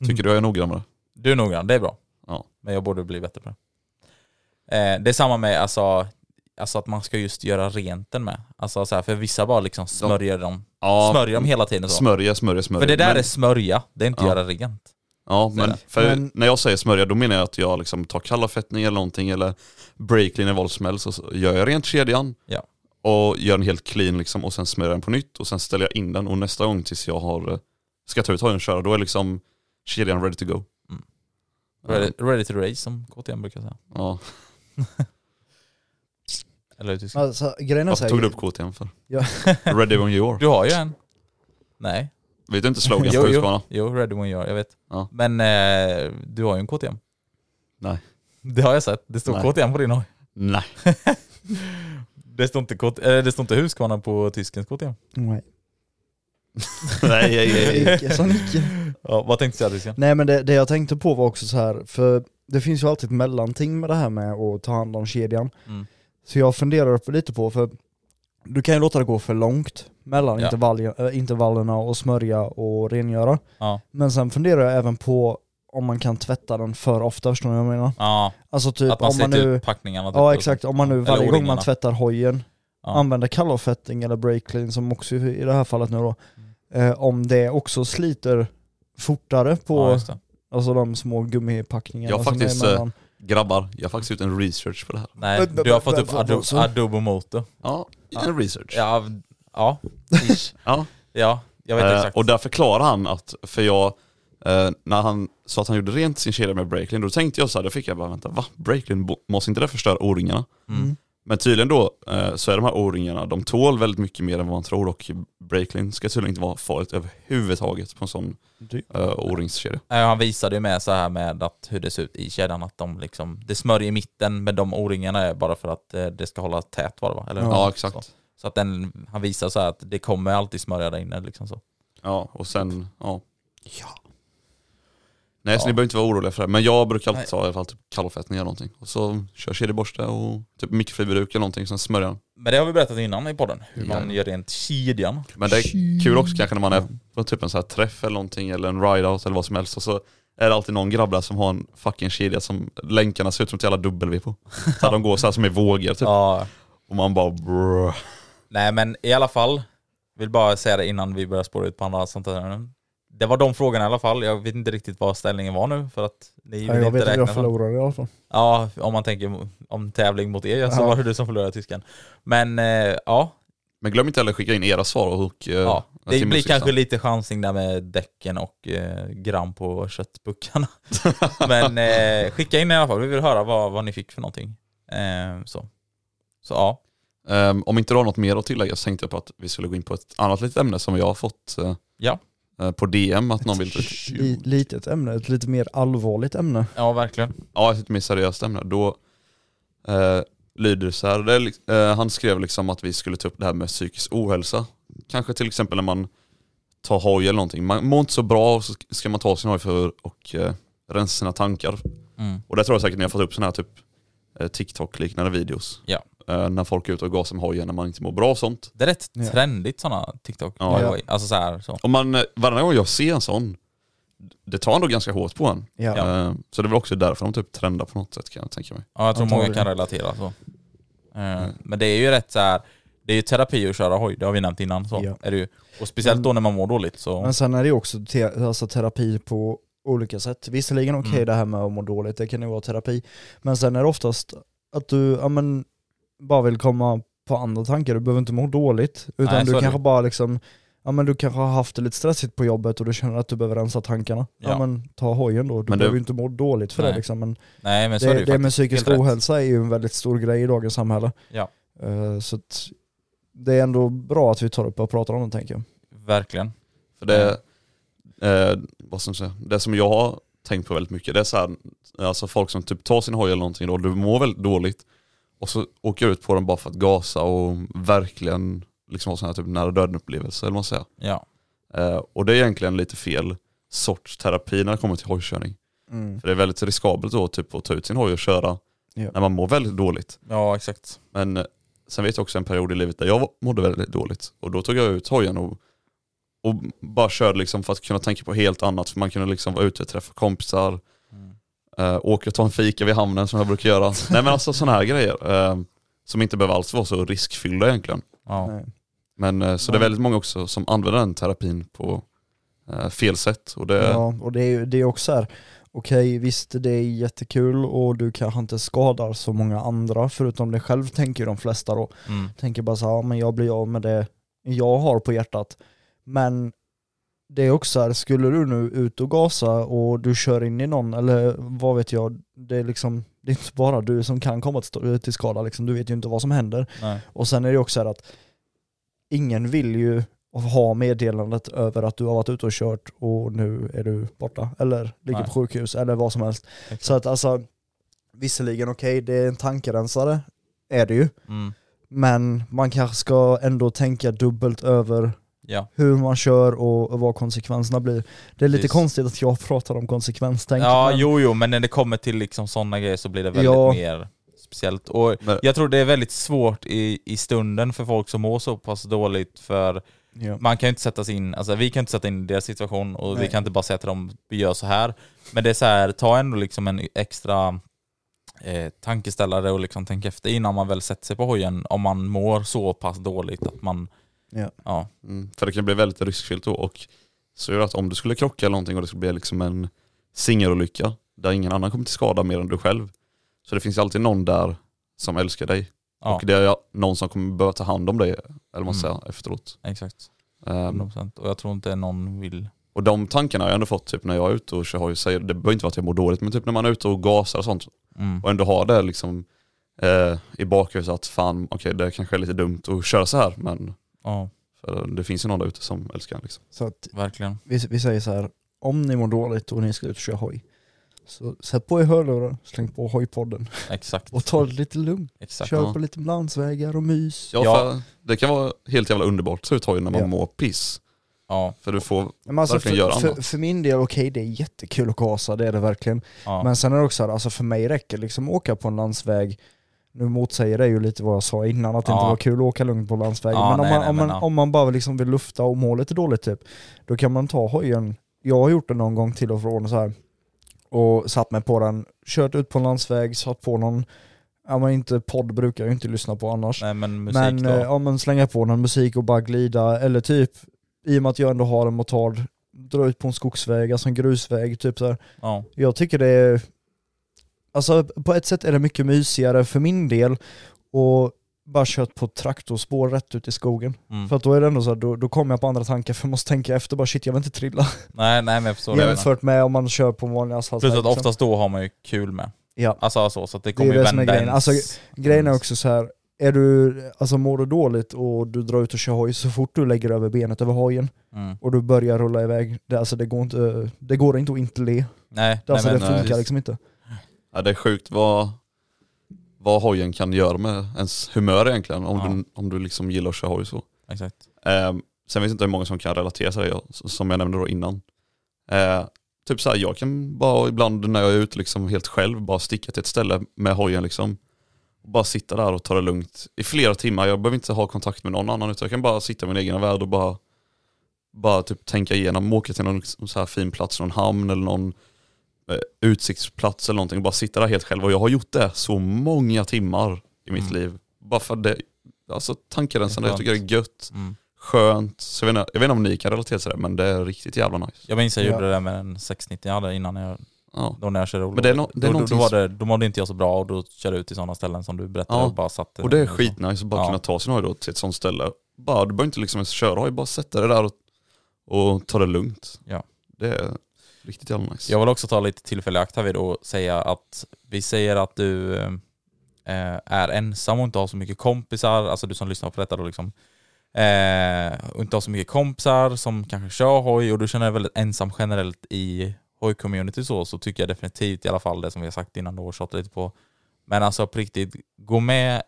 Speaker 4: Tycker du jag är noggrann med det?
Speaker 2: Du är noggrann, det är bra.
Speaker 4: Ja.
Speaker 2: Men jag borde bli bättre på det. Eh, det är samma med alltså, alltså att man ska just göra rent den med. Alltså så här, för vissa bara liksom smörjer dem,
Speaker 4: Ja,
Speaker 2: smörjer dem hela tiden så.
Speaker 4: Smörja, smörja, smörja.
Speaker 2: För det där
Speaker 4: Men-
Speaker 2: är smörja, det är inte
Speaker 4: Ja.
Speaker 2: göra rent.
Speaker 4: Ja,
Speaker 2: Så är
Speaker 4: men,
Speaker 2: det.
Speaker 4: för
Speaker 3: Men-
Speaker 4: när jag säger smörja då menar jag att jag liksom tar kallavfettning eller någonting eller breaklean eller vad som helst och så gör jag rent kedjan
Speaker 2: Ja.
Speaker 4: och gör den helt clean liksom och sen smörjer jag den på nytt och sen ställer jag in den och nästa gång tills jag har eh, ska ta ut hojen och köra då är liksom kedjan ready to go.
Speaker 2: Mm. Ready, ready to race som KTM brukar säga.
Speaker 4: Ja.
Speaker 2: Eller hur tyska.
Speaker 3: Alltså, grejen är så
Speaker 4: Varför
Speaker 3: här,
Speaker 4: tog du upp KTM för?
Speaker 3: Ja.
Speaker 4: ready when you are.
Speaker 2: Du har ju en. Nej.
Speaker 4: Vet du inte slogan på
Speaker 2: Jo, jo,
Speaker 4: Husqvarna?
Speaker 2: jo, ready when you are, jag vet.
Speaker 4: Ja.
Speaker 2: Men eh, du har ju en KTM.
Speaker 4: Nej.
Speaker 2: Det har jag sett. Det står
Speaker 4: Nej.
Speaker 2: KTM på din hoj.
Speaker 4: Nej.
Speaker 2: Det står inte, KT, eh, det står inte Husqvarna på tyskens KTM.
Speaker 3: Nej.
Speaker 4: nej, nej, nej.
Speaker 3: Icke som icke.
Speaker 2: Ja, vad tänkte du säga tysken?
Speaker 3: Nej men det, det jag tänkte på var också så här, för det finns ju alltid ett mellanting med det här med att ta hand om kedjan.
Speaker 2: Mm.
Speaker 3: Så jag funderar på- lite på, för du kan ju låta det gå för långt mellan
Speaker 2: Ja.
Speaker 3: intervall, äh, intervallerna och smörja och rengöra.
Speaker 2: Ja.
Speaker 3: Men sen funderar jag även på om man kan tvätta den för ofta, förstår ni vad jag menar?
Speaker 2: Ja,
Speaker 3: Alltså typ
Speaker 2: att man
Speaker 3: om
Speaker 2: ser
Speaker 3: man
Speaker 2: till
Speaker 3: nu,
Speaker 2: packningarna. typ,
Speaker 3: ja
Speaker 2: eller
Speaker 3: exakt,
Speaker 2: så.
Speaker 3: om man nu
Speaker 2: Eller
Speaker 3: varje gång man
Speaker 2: O-ringarna.
Speaker 3: tvättar hojen
Speaker 2: Ja.
Speaker 3: använder kallavfettning eller break clean som också i det här fallet nu då,
Speaker 2: Mm.
Speaker 3: eh, om det också sliter fortare på
Speaker 2: Ja, just det.
Speaker 3: Alltså de små gummipackningarna
Speaker 4: Jag har faktiskt,
Speaker 3: som är emellan.
Speaker 4: Grabbar, jag har faktiskt gjort en research på det här.
Speaker 2: Nej,
Speaker 3: Men-
Speaker 2: du har
Speaker 3: men-
Speaker 2: fått
Speaker 3: men-
Speaker 2: upp
Speaker 3: men-
Speaker 2: Adobe,
Speaker 3: så-
Speaker 2: Adobe Motor.
Speaker 4: Ja, en research.
Speaker 2: Ja, v- ja. ish.
Speaker 4: Ja.
Speaker 2: ja, jag vet
Speaker 4: Eh,
Speaker 2: exakt.
Speaker 4: Och där förklarar han att, för jag, eh, när han sa att han gjorde rent sin kedja med Breaklin, då tänkte jag så här, då fick jag bara vänta, va? Breaklin, bo- måste inte det förstöra O-ringarna?
Speaker 2: Mm.
Speaker 4: Men tydligen då eh, så är de här O-ringarna, de tål väldigt mycket mer än vad man tror och Breaklin ska tydligen inte vara farligt överhuvudtaget på en sån eh, O-ringskedja.
Speaker 2: Nej, Han visade ju med så här med att hur det ser ut i kedjan, att de liksom, det smörjer i mitten, men de O-ringarna är bara för att eh, det ska hålla tät var det va? Eller
Speaker 4: Ja,
Speaker 2: hur?
Speaker 4: exakt.
Speaker 2: Så, så att den, han visar så här att det kommer alltid smörja där inne liksom så.
Speaker 4: Ja, och sen, ja. Nej, så ni behöver inte vara oroliga för det. Men jag brukar alltid
Speaker 2: Nej.
Speaker 4: ta i alla fall typ kallfettning eller någonting. Och så kör jag kedjeborste och typ mikrofiberduk eller någonting, sen smörjer jag den.
Speaker 2: Men det har vi berättat innan i podden, hur
Speaker 4: Ja.
Speaker 2: man gör rent kedjan.
Speaker 3: Typ.
Speaker 4: Men det är kul också kanske när man är på typ en så här träff eller någonting eller en ride-out eller vad som helst och så är det alltid någon grabb där som har en fucking kedja som länkarna ser ut som ett jävla W på. Så här, de går så här som i vågor typ.
Speaker 2: Ja.
Speaker 4: Och man bara brr.
Speaker 2: Nej men i alla fall, vill bara säga det innan vi börjar spåra ut på andra sånt där. Det var de frågorna i alla fall, jag vet inte riktigt vad ställningen var nu för att ni
Speaker 3: Ja,
Speaker 2: vill
Speaker 3: jag
Speaker 2: inte
Speaker 3: vet att
Speaker 2: räkna
Speaker 3: jag
Speaker 2: den.
Speaker 3: förlorade i alla fall.
Speaker 2: Ja, om man tänker om tävling mot er så
Speaker 3: Ja.
Speaker 2: var det du som förlorade tysken. Men eh, ja,
Speaker 4: Men glöm inte heller att skicka in era svar och... eh,
Speaker 2: ja. det
Speaker 4: till
Speaker 2: blir
Speaker 4: musiksnack.
Speaker 2: kanske lite chansning där med däcken och eh, gram på köttbuckarna. Men eh, skicka in i alla fall, vi vill höra vad, vad ni fick för någonting. Eh, så. så ja,
Speaker 4: Ehm, om inte du har något mer att tillägga så tänkte jag på att vi skulle gå in på ett annat litet ämne som jag har fått eh,
Speaker 2: Ja.
Speaker 4: eh, på DM att någon vill...
Speaker 3: Li- litet ämne, ett lite mer allvarligt ämne.
Speaker 2: Ja, verkligen.
Speaker 4: Ja, ett lite mer seriöst ämne. Då eh, lyder det så här. Det är, li- eh, han skrev liksom att vi skulle ta upp det här med psykisk ohälsa. Kanske till exempel när man tar hoj eller någonting. Man mår inte så bra och så ska man ta sin hoj för och eh, rensa sina tankar.
Speaker 2: Mm.
Speaker 4: Och det tror jag säkert ni har fått upp sådana här typ eh, TikTok-liknande videos.
Speaker 2: Ja.
Speaker 4: Eh, när folk är ute och gasar med hojen när man inte mår bra och sånt.
Speaker 2: Det är rätt
Speaker 3: Ja.
Speaker 2: trendigt sådana TikTok.
Speaker 4: Ja.
Speaker 2: Ja. Alltså så här, så.
Speaker 4: Om man, eh, varje gång jag ser en sån, det tar ändå ganska hårt på en.
Speaker 3: Ja.
Speaker 4: Eh, så det är väl också därför de typ trendar på något sätt kan jag tänka mig.
Speaker 2: Ja, jag tror många
Speaker 3: Antagligen.
Speaker 2: kan relatera så. Eh,
Speaker 3: Mm.
Speaker 2: Men det är ju rätt så här. Det är ju terapi att köra hoj, det har vi nämnt innan. Så.
Speaker 3: Ja.
Speaker 2: Är det ju. Och speciellt då när man mår dåligt så...
Speaker 3: Men sen är det ju också te- alltså terapi på olika sätt. Visserligen okej
Speaker 2: Mm.
Speaker 3: det här med att må dåligt, det kan ju vara terapi. Men sen är det oftast att du ja, men, bara vill komma på andra tankar, du behöver inte må dåligt. Utan
Speaker 2: Nej, så
Speaker 3: du
Speaker 2: är det.
Speaker 3: kanske bara liksom, ja men du kanske har haft det lite stressigt på jobbet och du känner att du behöver rensa tankarna. Ja,
Speaker 2: Ja.
Speaker 3: men ta hojen då, du
Speaker 4: Men det-
Speaker 3: behöver ju inte må dåligt för det
Speaker 2: Nej.
Speaker 3: liksom. Men
Speaker 2: Nej men så är det
Speaker 3: det,
Speaker 2: ju
Speaker 3: det med
Speaker 2: faktiskt.
Speaker 3: psykisk
Speaker 2: Helt rätt.
Speaker 3: ohälsa är ju en väldigt stor grej i dagens samhälle.
Speaker 2: Ja.
Speaker 3: Eh, så att det är ändå bra att vi tar upp och pratar om det tänker jag.
Speaker 2: Verkligen.
Speaker 4: För det, eh, vad ska man säga, det som jag har tänkt på väldigt mycket, det är så här, alltså folk som typ tar sin hoj eller någonting och du mår väldigt dåligt och så åker ut på den bara för att gasa och verkligen liksom ha sån här typ nära döden upplevelse eller vad man säger.
Speaker 2: Ja.
Speaker 4: Eh, och det är egentligen lite fel sorts terapi när det kommer till hojkörning. För det är väldigt riskabelt då typ att ta ut sin hoj och köra
Speaker 3: Ja.
Speaker 4: när man mår väldigt dåligt.
Speaker 2: ja, exakt.
Speaker 4: Men eh, sen vet jag också en period i livet där jag mådde väldigt dåligt. Och då tog jag ut hojen och, och bara körde liksom för att kunna tänka på helt annat. För man kunde liksom vara ute och träffa kompisar, eh, åka och ta en fika vid hamnen som jag brukar göra. Nej men alltså sådana här grejer eh, som inte behöver alls vara så riskfyllda egentligen.
Speaker 2: Ja.
Speaker 3: Nej.
Speaker 4: Men eh, så det är väldigt många också som använder den terapin på eh, fel sätt. Och det, ja.
Speaker 3: Ja, och det är ju det är också här, okej visst det är jättekul och du kanske inte skadar så många andra förutom dig själv tänker ju de flesta då.
Speaker 2: Mm.
Speaker 3: Tänker bara så här, ja, men jag blir av med det jag har på hjärtat. Men det är också här, skulle du nu ut och gasa och du kör in i någon eller vad vet jag, det är liksom, det är inte bara du som kan komma till till skada liksom, du vet ju inte vad som händer.
Speaker 2: Nej.
Speaker 3: Och sen är det också här att ingen vill ju ha meddelandet över att du har varit ute och kört och nu är du borta eller ligger
Speaker 2: Nej.
Speaker 3: på sjukhus eller vad som helst.
Speaker 2: Exakt.
Speaker 3: Så att alltså, visserligen okej, det är en tankerensare, är det ju,
Speaker 2: Mm.
Speaker 3: men man kanske ska ändå tänka dubbelt över
Speaker 2: Ja.
Speaker 3: hur man kör och, och vad konsekvenserna blir. Det är lite
Speaker 2: Precis.
Speaker 3: konstigt att jag pratar om konsekvenstänk.
Speaker 2: Ja,
Speaker 3: men-
Speaker 2: jo, jo, men när det kommer till liksom sådana grejer så blir det väldigt
Speaker 3: Ja.
Speaker 2: mer speciellt. Och
Speaker 4: Men-
Speaker 2: jag tror det är väldigt svårt i, i stunden för folk som mår så pass dåligt för
Speaker 3: Ja.
Speaker 2: man kan ju inte sätta sig in, alltså vi kan inte sätta in deras situation och vi
Speaker 3: Nej.
Speaker 2: kan inte bara säga till dem vi gör så här. Men det är så här, ta ändå liksom en extra eh, tankeställare och liksom tänk efter innan man väl sätter sig på hojen om man mår så pass dåligt att man,
Speaker 3: Ja.
Speaker 2: ja,
Speaker 4: mm, för det kan bli väldigt riskfyllt då. Och så gör det att om du skulle krocka eller någonting och det skulle bli liksom en singelolycka där ingen annan kommer till skada mer än du själv. Så det finns ju alltid någon där som älskar dig.
Speaker 2: ja
Speaker 4: Och det är någon som kommer behöva ta hand om dig, eller vad
Speaker 2: Mm.
Speaker 4: man säger, efteråt.
Speaker 2: exakt.
Speaker 4: Ehm,
Speaker 2: 100%. Och jag tror inte någon vill
Speaker 4: och de tankarna har jag ändå fått typ när jag är ute och kör hoj. Säger- Det behöver inte vara att jag mår dåligt, men typ när man är ute och gasar och sånt
Speaker 2: mm.
Speaker 4: och ändå har det liksom eh, i bakhuvudet att fan, okej det kanske är lite dumt att köra så här, men
Speaker 2: Ja,
Speaker 4: för det finns ju någon där ute som älskar en liksom.
Speaker 3: Så att
Speaker 2: verkligen.
Speaker 3: vi, vi säger så här, om ni mår dåligt och ni ska ut och köra hoj, så sätt på er hörlurar, släng på hojpodden
Speaker 2: Exakt.
Speaker 3: och ta det lite lugnt.
Speaker 2: Exakt.
Speaker 3: Kör
Speaker 4: ja.
Speaker 3: på lite landsvägar och mys.
Speaker 4: Ja,
Speaker 2: Ja.
Speaker 4: För det kan vara helt jävla underbart att ta ut hojen när man
Speaker 3: Ja.
Speaker 4: mår piss.
Speaker 2: Ja,
Speaker 4: För du får,
Speaker 3: Men alltså,
Speaker 4: verkligen göra
Speaker 3: för, för,
Speaker 4: annat.
Speaker 3: för min del, okej det är jättekul att gasa, det är det verkligen.
Speaker 2: ja.
Speaker 3: Men sen är det också här, alltså för mig räcker liksom att åka på en landsväg, nu motsäger det ju lite vad jag sa innan, att det inte
Speaker 2: Ja.
Speaker 3: var kul att åka lugnt på landsvägen.
Speaker 2: Ja,
Speaker 3: men om,
Speaker 2: nej,
Speaker 3: man,
Speaker 2: nej,
Speaker 3: om,
Speaker 2: men
Speaker 3: man,
Speaker 2: ja.
Speaker 3: om man bara liksom vill lufta och må lite dåligt typ, då kan man ta hojen, jag har gjort det någon gång till och från så här och satt mig på den, kört ut på en landsväg, satt på någon, ja men inte podd brukar jag ju inte lyssna på annars.
Speaker 2: Nej men musik
Speaker 3: Men
Speaker 2: då.
Speaker 3: eh, ja, men slänga på någon musik och bara glida, eller typ, i och med att jag ändå har en motard, dra ut på en skogsväg, alltså en grusväg, typ så här.
Speaker 2: ja.
Speaker 3: Jag tycker det är, alltså på ett sätt är det mycket mysigare för min del och bara kört på ett traktorspår rätt ut i skogen.
Speaker 2: Mm.
Speaker 3: För att då är det ändå så här, då, då kommer jag på andra tankar för jag måste tänka efter bara shit jag vill inte trilla.
Speaker 2: Nej, nej men jag förstår det.
Speaker 3: Jämfört med om man kör på en vanlig asfaltväg.
Speaker 2: Plus att
Speaker 3: liksom.
Speaker 2: oftast då har man ju kul med.
Speaker 3: Ja.
Speaker 2: Alltså så, så att det kommer
Speaker 3: det
Speaker 2: ju
Speaker 3: som är
Speaker 2: vända
Speaker 3: grejen.
Speaker 2: ens-
Speaker 3: Alltså, Grejen är också så här, är du, alltså mår du dåligt och du drar ut och kör hoj, så fort du lägger över benet över hojen
Speaker 2: Mm.
Speaker 3: och du börjar rulla iväg, det, alltså det, går inte, det går inte att inte le.
Speaker 2: Nej,
Speaker 3: Det, alltså
Speaker 2: nej,
Speaker 3: det
Speaker 2: men,
Speaker 3: funkar
Speaker 2: eh,
Speaker 3: liksom inte.
Speaker 4: Ja, det är sjukt vad, vad hojen kan göra med ens humör egentligen, om,
Speaker 2: Ja.
Speaker 4: du, om du liksom gillar att köra hoj så.
Speaker 2: Exakt.
Speaker 4: Eh, sen vet jag inte hur många som kan relatera till det, jag- som jag nämnde då innan. Eh, typ så här, jag kan bara ibland när jag är ute liksom helt själv bara sticka till ett ställe med hojen liksom. Bara sitta där och ta det lugnt i flera timmar. Jag behöver inte ha kontakt med någon annan utan jag kan bara sitta i min egen värld och bara, bara typ tänka igenom, åka till någon liksom så här fin plats, någon hamn eller någon eh, utsiktsplats eller någonting och bara sitta där helt själv. Och jag har gjort det så många timmar i mitt
Speaker 2: Mm.
Speaker 4: liv. Bara för det, alltså tankerensande,
Speaker 2: Det är
Speaker 4: jag tycker det är gött
Speaker 2: Mm.
Speaker 4: skönt. Så jag, vet inte, jag vet inte om ni kan relatera till det, men det är riktigt jävla nice.
Speaker 2: Jag minns jag
Speaker 3: Ja.
Speaker 2: gjorde det där med en 690 jag hade innan jag,
Speaker 4: Ja.
Speaker 2: då när jag körde
Speaker 4: Men det är no- det
Speaker 2: då, då, då,
Speaker 4: är någonting
Speaker 2: var
Speaker 4: som-
Speaker 2: det, då mådde inte jag så bra och då körde jag ut till sådana ställen som du berättade
Speaker 4: Ja.
Speaker 2: och bara liksom- satt
Speaker 4: Och det är
Speaker 2: så.
Speaker 4: skitnice att bara
Speaker 2: Ja.
Speaker 4: kunna ta sin hoj då till ett sånt ställe. Bara, du behöver inte liksom ens köra hoj, bara sätta dig där och, och ta det lugnt.
Speaker 2: Ja.
Speaker 4: Det är riktigt jävla nice.
Speaker 2: Jag vill också ta lite tillfälle i akt härvid och säga att vi säger att du eh, är ensam och inte har så mycket kompisar, alltså du som lyssnar på detta då liksom, eh, och inte har så mycket kompisar som kanske kör hoj och du känner dig väldigt ensam generellt i hoj-community så, så tycker jag definitivt i alla fall det som vi har sagt innan då och tjatat lite på. Men alltså på riktigt, gå med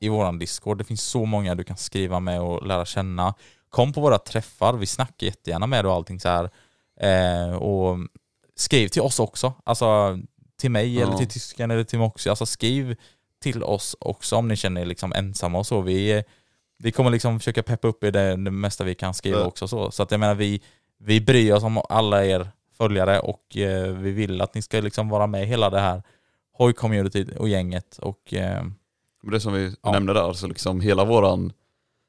Speaker 2: i våran Discord, det finns så många du kan skriva med och lära känna. Kom på våra träffar, vi snackar jättegärna med dig och allting så här. Eh, och skriv till oss också. Alltså till mig
Speaker 4: Ja.
Speaker 2: eller till tysken eller till Moxie. Alltså skriv till oss också om ni känner er liksom ensamma och så. Vi, vi kommer liksom försöka peppa upp er det, det mesta vi kan skriva
Speaker 4: Ja.
Speaker 2: också. Så, så att jag menar vi, vi bryr oss om alla er följare och eh, vi vill att ni ska liksom vara med i hela det här hoj-communityt och gänget. Och, eh,
Speaker 4: Men det som vi
Speaker 2: Ja.
Speaker 4: nämnde där, så liksom hela våran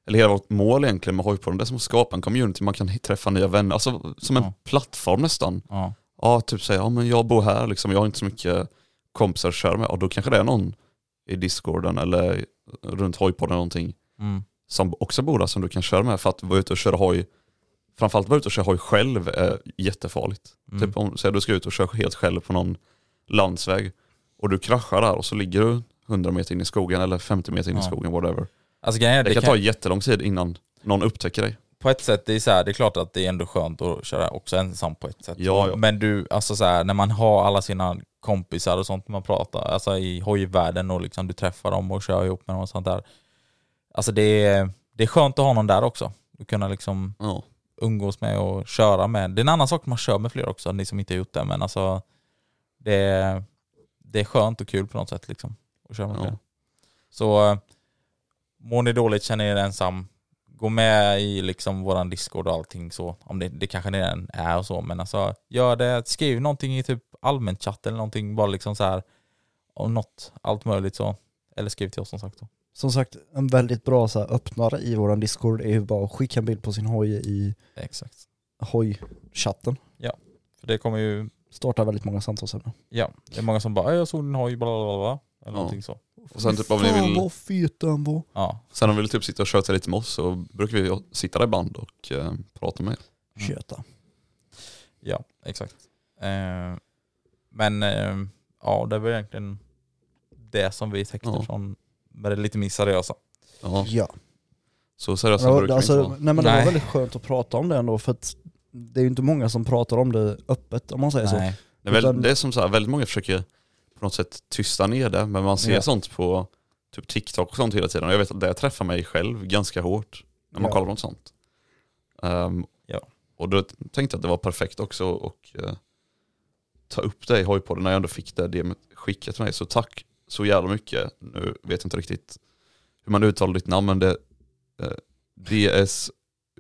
Speaker 4: eller hela vårt mål egentligen med hojpodden, det är som att skapa en community, man kan hi- träffa nya vänner, alltså som en
Speaker 2: Ja.
Speaker 4: plattform nästan.
Speaker 2: ja.
Speaker 4: Ja, typ säga, ja men jag bor här liksom, jag har inte så mycket kompisar att köra med. Ja, då kanske det är någon i discorden eller runt hojpodden eller någonting
Speaker 2: Mm.
Speaker 4: som också bor där som du kan köra med. För att vara ute och köra hoj, framförallt vara ute och köra hoj själv är jättefarligt.
Speaker 2: Mm.
Speaker 4: Typ om säg, du ska ut och köra helt själv på någon landsväg och du kraschar där och så ligger du 100 meter in i skogen eller 50 meter in i
Speaker 2: Ja.
Speaker 4: skogen, whatever.
Speaker 2: Alltså, grejen är,
Speaker 4: Det,
Speaker 2: det
Speaker 4: kan,
Speaker 2: kan-
Speaker 4: ta jättelång tid innan någon upptäcker dig.
Speaker 2: på ett sätt, det är, så här, det är klart att det är ändå skönt att köra också ensam på ett sätt.
Speaker 4: Ja, ja.
Speaker 2: Men du, alltså så här, när man har alla sina kompisar och sånt man pratar, alltså i hojvärlden och liksom du träffar dem och kör ihop med dem och sånt där. Alltså det är, det är skönt att ha någon där också. Att kunna liksom
Speaker 4: Ja.
Speaker 2: umgås med och köra med. Det är en annan sak när man kör med fler också, ni som inte har gjort det, men alltså det är, det är skönt och kul på något sätt liksom. Att köra med
Speaker 4: Ja.
Speaker 2: fler. Så eh, mår ni dåligt, känner er ensam, gå med i liksom våran discord och allting så, om det, det kanske redan är och så, men alltså gör det, skriv någonting i typ allmän chatt eller någonting, bara liksom så här om något, allt möjligt så. Eller skriv till oss som sagt. Då.
Speaker 3: Som sagt, en väldigt bra så här, öppnare i våran discord är ju bara att skicka en bild på sin hoj i
Speaker 2: Exakt.
Speaker 3: hojchatten.
Speaker 2: För det kommer ju
Speaker 3: Startar väldigt många samtalsämnen.
Speaker 2: Ja, det är många som bara "Äh, jag såg din hoj, bla bla bla, bla. Eller någonting så.
Speaker 4: Och sen typ om ni
Speaker 3: Fan
Speaker 4: vill-
Speaker 3: vad fet den var.
Speaker 2: Ja,
Speaker 4: Sen om vi vill typ sitta och köta lite med oss så brukar vi sitta där ibland och eh, prata med er.
Speaker 2: Mm.
Speaker 3: Köta.
Speaker 2: ja exakt. Eh, men eh, ja, det var egentligen det som vi täckte
Speaker 4: Ja.
Speaker 2: från med det lite mer seriösa.
Speaker 4: Ja.
Speaker 3: Ja.
Speaker 4: Så seriösa
Speaker 3: Ja,
Speaker 4: brukar vi
Speaker 3: alltså,
Speaker 4: inte vara.
Speaker 3: nej, men det var
Speaker 2: Nej.
Speaker 3: väldigt skönt att prata om det ändå för att det är ju inte många som pratar om det öppet om man säger så.
Speaker 2: Nej.
Speaker 4: Det är,
Speaker 3: Utan-
Speaker 4: väl, det är som så här, väldigt många försöker på något sätt tysta ner det, men man ser
Speaker 3: Ja.
Speaker 4: sånt på typ TikTok och sånt hela tiden. Och jag vet att det träffar mig själv ganska hårt när man
Speaker 3: Ja.
Speaker 4: kollar på något sånt. Ehm,
Speaker 2: Ja.
Speaker 4: Och då tänkte jag att det var perfekt också och eh, ta upp det i hojpodden när jag ändå fick det DMet skickat till mig. Så tack så jävla mycket. Nu vet jag inte riktigt hur man uttalar ditt namn, men det eh, DS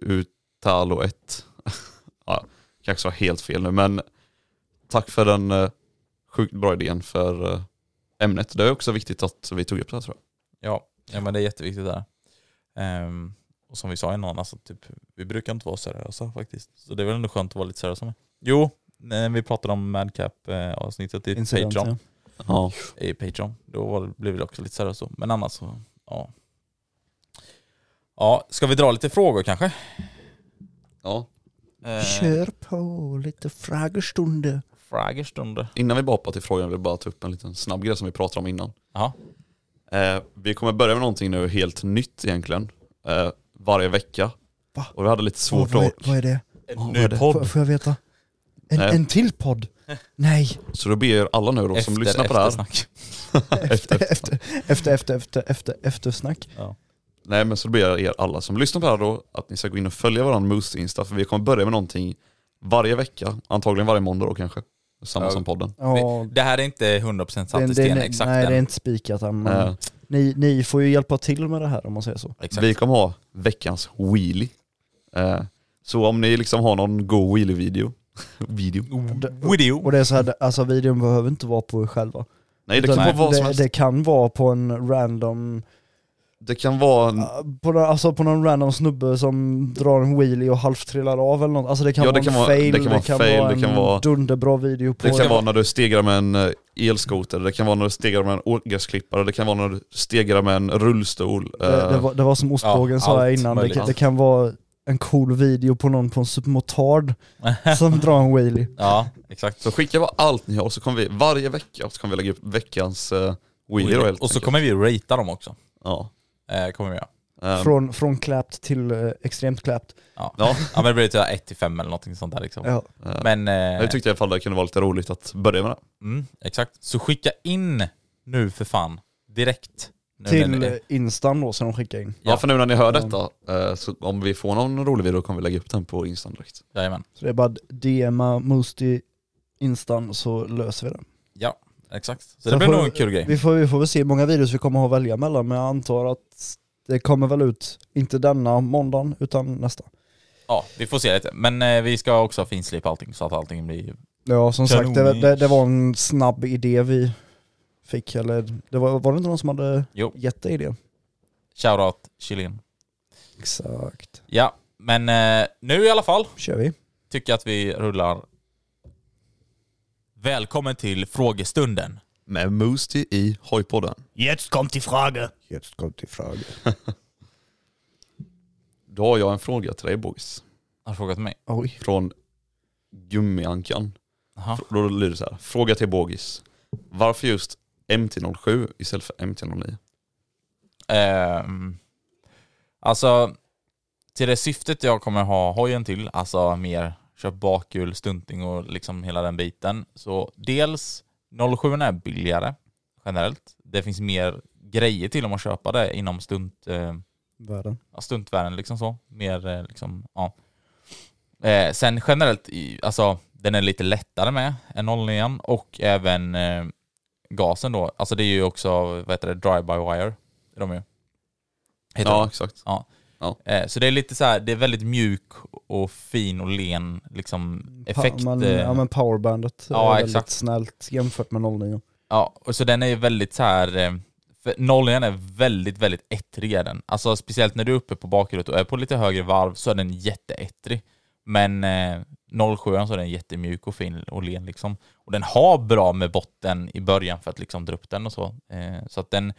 Speaker 4: Utalo 1. ja, kanske var helt fel nu, men tack för den eh, sjukt bra idén för eh, ämnet. Det är också viktigt att vi tog upp det här tror jag.
Speaker 2: Ja, ja, men det är jätteviktigt där. Ehm, och som vi sa innan, alltså, typ, vi brukar inte vara seriösa faktiskt. Så det är väl ändå skönt att vara lite seriösa med. Jo, när vi pratade om Madcap-avsnittet i
Speaker 3: Incident,
Speaker 2: Patreon,
Speaker 3: ja.
Speaker 4: Ja.
Speaker 2: i Patreon. Då var, det- blev det också lite seriöst så. Men annars så, ja. Ja, ska vi dra lite frågor kanske?
Speaker 4: ja. Eh,
Speaker 2: Eh.
Speaker 3: Kör på lite frågestunder.
Speaker 2: Frågestunder.
Speaker 4: Innan vi bara hoppar till frågan vill jag bara ta upp en liten snabb grej som vi pratade om innan.
Speaker 2: Jaha.
Speaker 4: Eh, Eh, vi kommer börja med någonting nu helt nytt egentligen. Eh, varje vecka.
Speaker 3: Va?
Speaker 4: Och vi hade lite svårt
Speaker 3: vad, är,
Speaker 4: att...
Speaker 3: vad är det?
Speaker 2: En
Speaker 3: Vad
Speaker 2: ny
Speaker 3: är det? Får,
Speaker 2: podd.
Speaker 3: får jag veta? En,
Speaker 4: Nej.
Speaker 3: en till podd? Nej.
Speaker 4: Så då ber jag er alla nu då som lyssnar på det här.
Speaker 2: eftersnack.
Speaker 3: Efter, efter, efter, efter, efter, efter, eftersnack.
Speaker 4: Nej men så då ber jag er alla som lyssnar på det här då att ni ska gå in och följa våran Moose Insta för vi kommer börja med någonting varje vecka. Antagligen varje måndag då kanske. Samma
Speaker 2: Ja.
Speaker 4: som podden.
Speaker 3: Ja,
Speaker 2: Det här är inte 100% satt i
Speaker 3: det,
Speaker 2: sten
Speaker 3: det,
Speaker 2: exakt
Speaker 3: nej,
Speaker 2: än.
Speaker 3: det är inte spikat än. Men
Speaker 4: Eh,
Speaker 3: ni, ni får ju hjälpa till med det här om man säger så.
Speaker 2: Exakt.
Speaker 4: Vi kommer ha veckans wheelie. Eh, så om ni liksom har någon go wheelie-video. video.
Speaker 2: Video.
Speaker 3: Och det är så här, alltså videon behöver inte vara på er själva.
Speaker 4: Nej det
Speaker 3: Utan
Speaker 4: kan vara vad som
Speaker 3: det,
Speaker 4: helst.
Speaker 3: det kan vara på en random,
Speaker 4: Det kan vara... en-
Speaker 3: på, någon- alltså på någon random snubbe som drar en wheelie och halvt trillar av eller något. Alltså det kan
Speaker 4: Ja,
Speaker 3: vara
Speaker 4: det kan
Speaker 3: en
Speaker 4: vara-
Speaker 3: fail,
Speaker 4: det kan vara fail, det
Speaker 3: en
Speaker 4: kan vara-
Speaker 3: dunderbra video på
Speaker 4: Det kan
Speaker 3: en-
Speaker 4: vara när du stegrar med en eh, elskoter, det kan vara när du stegrar med en årgräsklippare, det kan vara när du stegrar med en rullstol.
Speaker 3: Det, det,
Speaker 4: Eh,
Speaker 3: var, det var som ostbågen
Speaker 2: ja,
Speaker 3: sa jag
Speaker 2: allt
Speaker 3: innan, det,
Speaker 2: möjligt.
Speaker 3: kan- det kan vara en cool video på någon på en supermotard som drar en wheelie.
Speaker 2: Ja, exakt.
Speaker 4: Så skicka bara allt ni har så kommer vi varje vecka så kommer vi lägga upp veckans uh, wheelie då, helt
Speaker 2: Och så
Speaker 4: enkelt.
Speaker 2: kommer vi ratea dem också.
Speaker 4: Ja.
Speaker 2: Eh, kommer vi göra.
Speaker 4: Eh,
Speaker 3: Från, från kläpt till eh, extremt kläpt.
Speaker 2: Ja.
Speaker 4: Ja.
Speaker 2: Ja. men det blir typ 1 till 5 eller någonting sånt där liksom.
Speaker 3: Ja.
Speaker 4: eh,
Speaker 2: Men... eh,
Speaker 4: jag tyckte i alla fall det kunde vara lite roligt att börja med det.
Speaker 2: mm, exakt. Så skicka in nu för fan. Direkt. Nu när
Speaker 3: Till
Speaker 2: ni-
Speaker 3: eh, instan då som de skickar in.
Speaker 4: Ja,
Speaker 2: Ja.
Speaker 4: för nu när ni hör
Speaker 3: Ja.
Speaker 4: detta, eh, så om vi får någon rolig video kommer vi lägga upp den på Instagram direkt.
Speaker 2: Jajamän.
Speaker 3: Så det är bara att DMa Moosty instan så löser vi det.
Speaker 2: Ja, exakt. Så, det
Speaker 3: Sen
Speaker 2: blir
Speaker 3: får-
Speaker 2: nog en kul grej.
Speaker 3: Vi får, vi får väl se hur många videos vi kommer ha att välja mellan men jag antar att det kommer väl ut, inte denna måndagen utan nästa.
Speaker 2: Ja, vi får se lite. Men eh, vi ska också finslipa allting så att allting blir...
Speaker 3: Ja som
Speaker 2: Kanon.
Speaker 3: sagt, det, det, det var en snabb idé vi fick eller det var, var det inte någon som hade
Speaker 2: Jo.
Speaker 3: gett dig idén?
Speaker 2: Shoutout Chilin.
Speaker 3: Exakt.
Speaker 2: Ja, men eh, nu i alla fall
Speaker 3: kör vi.
Speaker 2: tycker jag att vi rullar. Välkommen till frågestunden.
Speaker 4: Med Moosty i Hojpodden.
Speaker 7: Jetzt kommt die Frage.
Speaker 3: Jetzt kommt die Frage.
Speaker 4: Då har jag en fråga till dig boys.
Speaker 2: Har du frågat mig?
Speaker 3: Oj.
Speaker 4: Från Gummiankan.
Speaker 2: Aha.
Speaker 4: Fr- Då lyder det så här. Fråga till Bogis. Varför just MT-07 istället för MT-09?
Speaker 2: Ehm, alltså, till det syftet jag kommer ha hojen till, alltså mer köp bakhjul, stunting och liksom hela den biten. Så dels 07 är billigare generellt. Det finns mer grejer till om att köpa det inom stunt, eh,
Speaker 3: Världen.
Speaker 2: ja, stuntvärlden liksom så. Mer eh, liksom, ja. Eh, sen generellt, i- alltså den är lite lättare med än 09 och även eh, gasen då. Alltså det är ju också, vad heter det, drive-by-wire. Är de ju. Heter
Speaker 4: Ja,
Speaker 2: de.
Speaker 4: exakt.
Speaker 2: Eh, så det är lite så här, det är väldigt mjuk och fin och len liksom effekt.
Speaker 3: Pa- man,
Speaker 2: eh,
Speaker 3: ja men powerbandet
Speaker 2: Ja,
Speaker 3: är väldigt
Speaker 2: exakt.
Speaker 3: snällt jämfört med 09.
Speaker 2: Ja, och så den är ju väldigt så här... eh, för Nollan är väldigt, väldigt ettrig är den. Alltså speciellt när du är uppe på bakhjulet och är på lite högre varv så är den jätteettrig. Men eh, 07 så är den jättemjuk och fin och len liksom. Och den har bra med botten i början för att liksom dra upp den och så. Eh, så att den,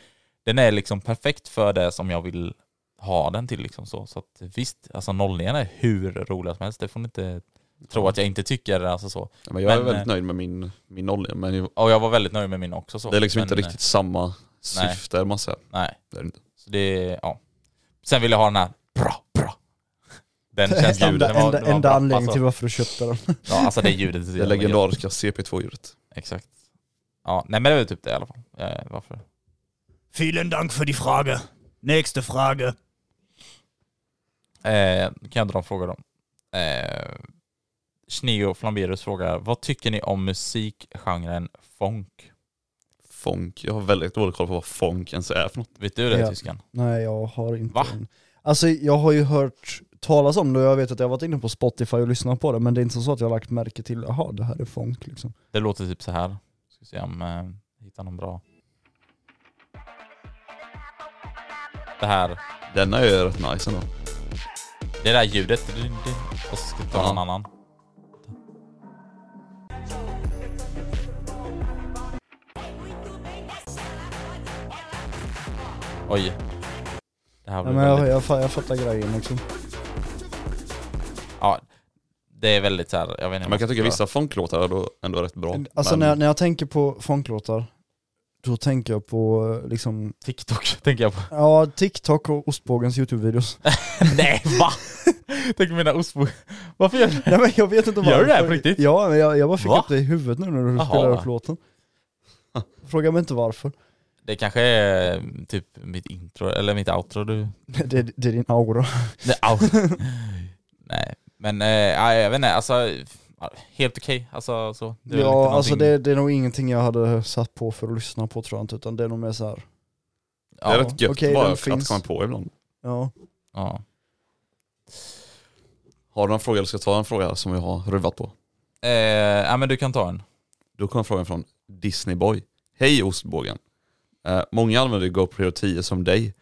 Speaker 2: den är liksom perfekt för det som jag vill ha den till liksom så. Så att visst, alltså 09 är hur rolig som helst. Det får ni inte tro att jag inte tycker. Alltså så.
Speaker 4: Ja, Men jag är
Speaker 2: Men,
Speaker 4: väldigt
Speaker 2: eh,
Speaker 4: nöjd med min, min 09, men ju-
Speaker 2: Och jag var väldigt nöjd med min också så.
Speaker 4: det är liksom
Speaker 2: Men,
Speaker 4: inte
Speaker 2: eh,
Speaker 4: riktigt samma syfte man säger.
Speaker 2: Nej.
Speaker 4: Det är det inte.
Speaker 2: Så det, ja. Sen vill jag ha den här bra, bra. Den känslan.
Speaker 3: enda
Speaker 2: den var-
Speaker 3: enda,
Speaker 2: den var
Speaker 3: enda
Speaker 2: bra.
Speaker 3: anledningen till
Speaker 2: alltså,
Speaker 3: varför du köpte den.
Speaker 2: Ja, alltså det ljudet. är så
Speaker 4: Det
Speaker 2: jävla gött.
Speaker 4: legendariska CP2-djuret.
Speaker 2: Exakt. Ja, nej men det var typ det i alla fall. Eh, varför?
Speaker 7: Vielen Dank für die Frage. Nächste Frage.
Speaker 2: Eh, kan jag dra en fråga då? Eh, Sneo Flamberus frågar, vad tycker ni om musikgenren funk?
Speaker 4: Funk. Jag har väldigt dålig koll på vad funk ens är för något.
Speaker 2: Vet du det
Speaker 3: Ja.
Speaker 2: tyskan?
Speaker 3: Nej jag har inte
Speaker 2: Va?
Speaker 3: en. Alltså jag har ju hört talas om det och jag vet att jag har varit inne på Spotify och lyssnat på det men det är inte så att jag har lagt märke till, jaha det här är funk liksom.
Speaker 2: Det låter typ så här. Ska se om eh, jag hittar någon bra. Det här.
Speaker 4: Denna är ju rätt nice ändå.
Speaker 2: Det där ljudet. Du- du- Och så ska jag ta
Speaker 4: Ja.
Speaker 2: någon annan. Oj. Det här
Speaker 3: Ja,
Speaker 2: blir
Speaker 3: men jag,
Speaker 2: väldigt...
Speaker 3: jag, fa- jag fattar grejen liksom.
Speaker 2: Ja, det är väldigt så här, jag vet inte.
Speaker 4: Man kan
Speaker 2: vad
Speaker 4: tycka
Speaker 2: jag
Speaker 4: vissa funklåtar är då ändå rätt bra.
Speaker 3: Alltså
Speaker 4: men
Speaker 3: när, när jag tänker på funklåtar Då tänker jag på eh, liksom,
Speaker 2: TikTok tänker jag på.
Speaker 3: ja TikTok och ostbågens YouTube-videos.
Speaker 2: Nej va? Tänk mina ostbågar. Varför gör du det?
Speaker 3: Nej men jag vet inte
Speaker 2: Gör du det här på
Speaker 3: varför.
Speaker 2: riktigt?
Speaker 3: Ja, men jag, jag bara fick
Speaker 2: Va?
Speaker 3: upp det i huvudet nu när du
Speaker 2: Jaha.
Speaker 3: spelade upp låten. Fråga mig inte varför.
Speaker 2: Det kanske är eh, typ mitt intro eller mitt outro du...
Speaker 3: Det, det är din aura.
Speaker 2: Nej, outro. Nej men eh, ja, jag vet inte, alltså ja, helt okej. Alltså så. Det är väl inte
Speaker 3: Ja, alltså
Speaker 2: någonting-
Speaker 3: det, det är nog ingenting jag hade satt på för att lyssna på tror jag inte, utan det är nog mer såhär,
Speaker 2: ja,
Speaker 4: det är rätt gött
Speaker 3: okej,
Speaker 4: bara
Speaker 3: den
Speaker 4: för att
Speaker 3: finns.
Speaker 4: komma på ibland.
Speaker 3: ja.
Speaker 2: ja.
Speaker 4: Har du någon fråga eller ska jag ta en fråga som jag har ruvat på?
Speaker 2: Eh, ja men du kan ta en.
Speaker 4: Då kommer frågan från Disneyboy. Hej ostbågen. Eh, många använder GoPro 10 som dig,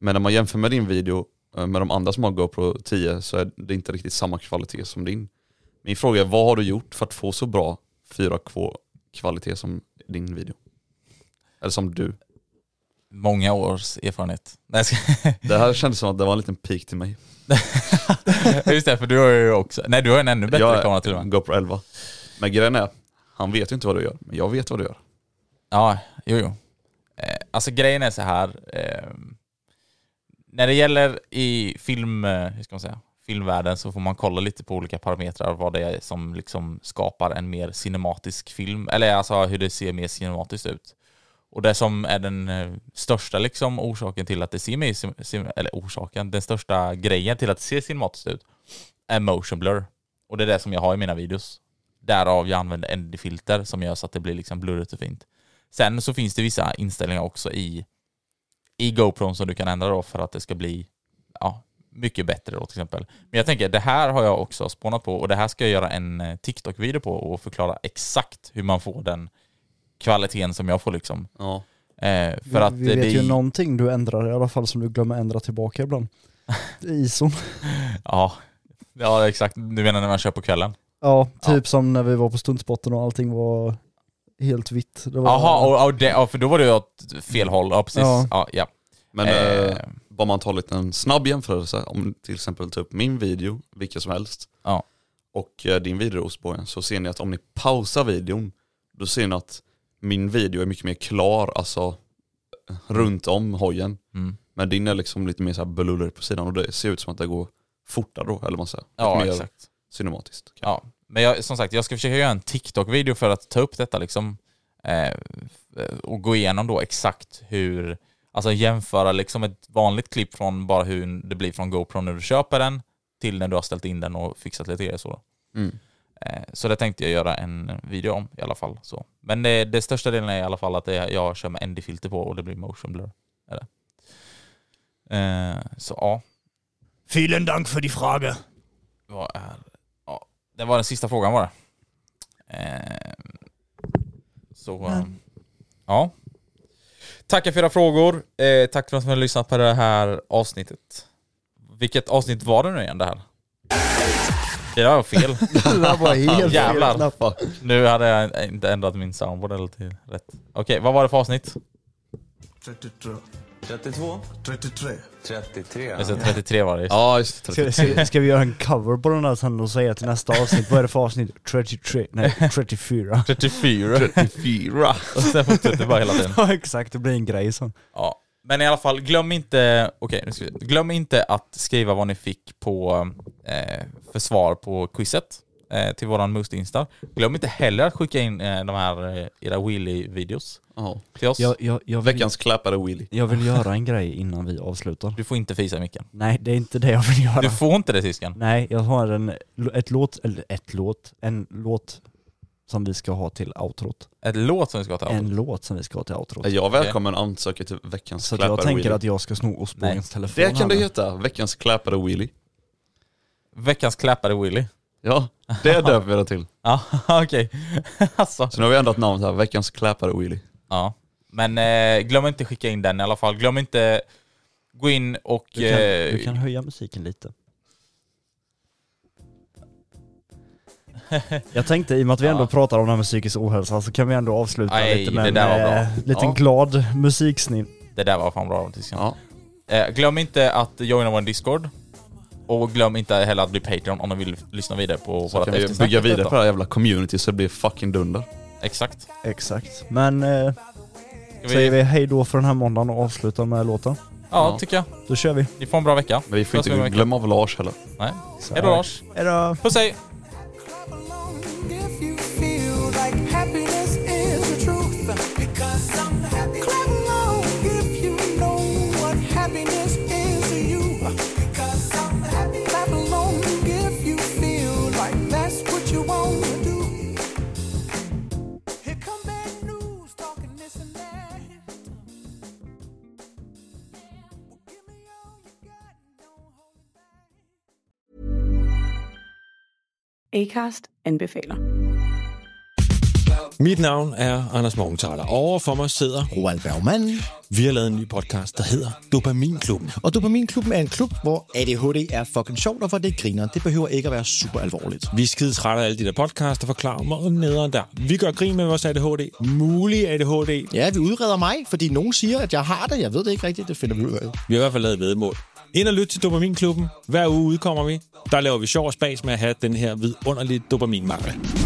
Speaker 4: men när man jämför med din video eh, med de andra som har GoPro 10 så är det inte riktigt samma kvalitet som din. Min fråga är, vad har du gjort för att få så bra 4K-kvalitet som din video? Eller som du?
Speaker 2: Många års erfarenhet. Nej, jag ska...
Speaker 4: Det här kändes som att det var en liten pik till mig.
Speaker 2: Just det, för du har ju också... Nej du har en ännu bättre
Speaker 4: jag
Speaker 2: kamera till och med.
Speaker 4: GoPro 11. Men grejen är, han vet ju inte vad du gör, men jag vet vad du gör.
Speaker 2: Ja, jo, jo. Eh, alltså grejen är så här. ehm, när det gäller i film, eh, hur ska man säga, filmvärlden så får man kolla lite på olika parametrar vad det är som liksom skapar en mer cinematisk film, eller alltså hur det ser mer cinematiskt ut. Och det som är den eh, största liksom orsaken till att det ser mer, sim- sim- eller orsaken, den största grejen till att det ser cinematiskt ut är motion blur. Och det är det som jag har i mina videos. Därav jag använder ND-filter som gör så att det blir liksom blurrigt och fint. Sen så finns det vissa inställningar också i, i GoPron som du kan ändra då för att det ska bli ja, mycket bättre då till exempel. Men jag tänker, det här har jag också spånat på och det här ska jag göra en eh, TikTok-video på och förklara exakt hur man får den kvaliteten som jag får liksom.
Speaker 4: Ja.
Speaker 2: Eh, för
Speaker 3: Vi,
Speaker 2: att
Speaker 3: vi
Speaker 2: eh,
Speaker 3: vet
Speaker 2: det
Speaker 3: ju någonting du ändrar i alla fall som du glömmer ändra tillbaka ibland. Det är Ison.
Speaker 2: ja, ja, exakt. Du menar när man kör på kvällen?
Speaker 3: Ja,
Speaker 2: Ja.
Speaker 3: typ som när vi var på stuntspotten och allting var helt vitt. Det var-
Speaker 2: Jaha, och, och det, ja, för då var det ju åt fel håll. Ja, precis.
Speaker 3: Ja.
Speaker 2: Ja, ja.
Speaker 4: Men
Speaker 2: Eh.
Speaker 4: eh, bara man tar lite en snabb jämförelse, om till exempel ta upp min video, vilken som helst,
Speaker 2: Ja.
Speaker 4: och eh, din video Ostbågen, så ser ni att om ni pausar videon, då ser ni att min video är mycket mer klar, alltså runt om hojen.
Speaker 2: Mm.
Speaker 4: Men din är liksom lite mer så här blurrig på sidan och det ser ut som att det går fortare då, eller vad man säger.
Speaker 2: ja
Speaker 4: Lite mer
Speaker 2: exakt.
Speaker 4: cinematiskt.
Speaker 2: Ja, men jag, som sagt, jag ska försöka göra en TikTok-video för att ta upp detta liksom. Eh, och gå igenom då exakt hur, alltså jämföra liksom ett vanligt klipp från bara hur det blir från GoPro när du köper den till när du har ställt in den och fixat lite grejer så. Då.
Speaker 4: Mm.
Speaker 2: Eh, så det tänkte jag göra en video om i alla fall. Så. Men det, det största delen är i alla fall att det, jag kör med ND-filter på och det blir motion blur. Är det. Eh, så ja.
Speaker 7: Vielen Dank für die Frage.
Speaker 2: Vad är... Ja, det var den sista frågan var det. Ehm, så... ehm, Ja. Tackar för era frågor. Eh, tack för att ni har lyssnat på det här avsnittet. Vilket avsnitt var det nu igen det här? Det där var fel.
Speaker 3: Det där var helt
Speaker 2: Jävlar.
Speaker 3: fel knappar.
Speaker 2: nu hade jag inte ändrat min soundboard eller till rätt. Okej, vad var det för avsnitt?
Speaker 8: 32? 33.
Speaker 2: Jag säger 33 var det just.
Speaker 4: Ja, just det.
Speaker 3: Ska, ska, ska vi göra en cover på den här sen och säga till nästa avsnitt, vad är det för avsnitt? 33, nej 34.
Speaker 2: 34. 34. Och sen fortsätter det bara hela tiden.
Speaker 3: Ja exakt, det blir en grej sen.
Speaker 2: Ja, men i alla fall, glöm inte, okej, nu ska vi, glöm inte att skriva vad ni fick på eh, för svar på quizet eh, till våran Moost Insta. Glöm inte heller att skicka in eh, de här eh, era wheelie-videos
Speaker 4: Ja.
Speaker 2: till oss.
Speaker 3: jag, jag, vill,
Speaker 4: Veckans klapp är det Willy.
Speaker 3: jag vill göra en grej innan vi avslutar.
Speaker 2: Du får inte fisa i micken.
Speaker 3: Nej det är inte det jag vill göra.
Speaker 2: Du får inte det Siskan.
Speaker 3: Nej, jag har en, ett låt, eller ett låt, en låt som vi ska ha till outrot.
Speaker 2: Ett låt som vi ska ta.
Speaker 3: En låt som vi ska ha till outrot.
Speaker 4: Är Eh, jag välkommen att ansöka till veckans
Speaker 3: Så att
Speaker 4: klapp är
Speaker 3: jag
Speaker 4: det
Speaker 3: tänker
Speaker 4: Willy?
Speaker 3: att jag ska sno Ostbågens
Speaker 2: Nej.
Speaker 3: telefon.
Speaker 4: Det kan
Speaker 3: här
Speaker 4: det
Speaker 3: nu.
Speaker 4: heta, veckans klapp är det Willy.
Speaker 2: Veckans klappare Willy.
Speaker 4: Ja, det döper vi det till.
Speaker 2: Ja, okej. alltså.
Speaker 4: Så nu har vi ändrat namn här, veckans klappare Willy.
Speaker 2: Ja. Men eh, glöm inte skicka in den i alla fall. Glöm inte gå in och...
Speaker 3: Du kan,
Speaker 2: eh,
Speaker 3: du kan höja musiken lite. Jag tänkte i och med att vi ändå
Speaker 2: Ja.
Speaker 3: pratar om det här med psykisk ohälsa så kan vi ändå avsluta
Speaker 2: Nej,
Speaker 3: lite
Speaker 2: det
Speaker 3: med en
Speaker 2: där var bra.
Speaker 3: eh, liten
Speaker 4: Ja.
Speaker 3: glad musiksnitt.
Speaker 2: det där var fan bra Siskan.
Speaker 4: Ja.
Speaker 2: Eh, glöm inte att joina vår Discord. Och glöm inte heller att bli Patreon om du vill lyssna vidare på
Speaker 4: Så
Speaker 2: vårat
Speaker 4: kan vi
Speaker 2: eftersnack.
Speaker 4: bygga vidare på det här jävla community så det blir fucking dunder.
Speaker 2: Exakt.
Speaker 3: Exakt. Men eh,
Speaker 9: Ska
Speaker 3: Säger vi hej då för den här måndagen och avslutar med låten.
Speaker 9: Ja, tycker jag.
Speaker 3: Då kör vi.
Speaker 9: Ni får en bra vecka.
Speaker 4: Men vi får
Speaker 9: Ses om en
Speaker 4: inte
Speaker 9: vecka.
Speaker 4: glömma av Lars heller.
Speaker 9: Nej. Hej då Lars.
Speaker 3: Hejdå!
Speaker 9: Puss hej.
Speaker 2: Acast anbefaler.
Speaker 10: Mit navn er Anders Morgenthaler. Over for mig sidder Roald Bergmann. Vi har lavet en ny podcast, der hedder Dopaminklubben.
Speaker 11: Og Dopaminklubben er en klub, hvor ADHD er fucking sjovt, og hvor det griner. Det behøver ikke at være super alvorligt.
Speaker 10: Vi er skide trætte af alle de der podcasts, der forklarer mig nederen der. Vi gør grin med vores ADHD. Mulig ADHD.
Speaker 11: Ja, vi udreder mig, fordi nogen siger, at jeg har det. Jeg ved det ikke rigtigt, det finder vi ud af.
Speaker 10: Vi har i hvert fald lavet vedmål. Ind og lyt til Dopaminklubben. Hver uge udkommer vi. Der laver vi sjov og spas med at have den her vidunderlige dopaminmangel.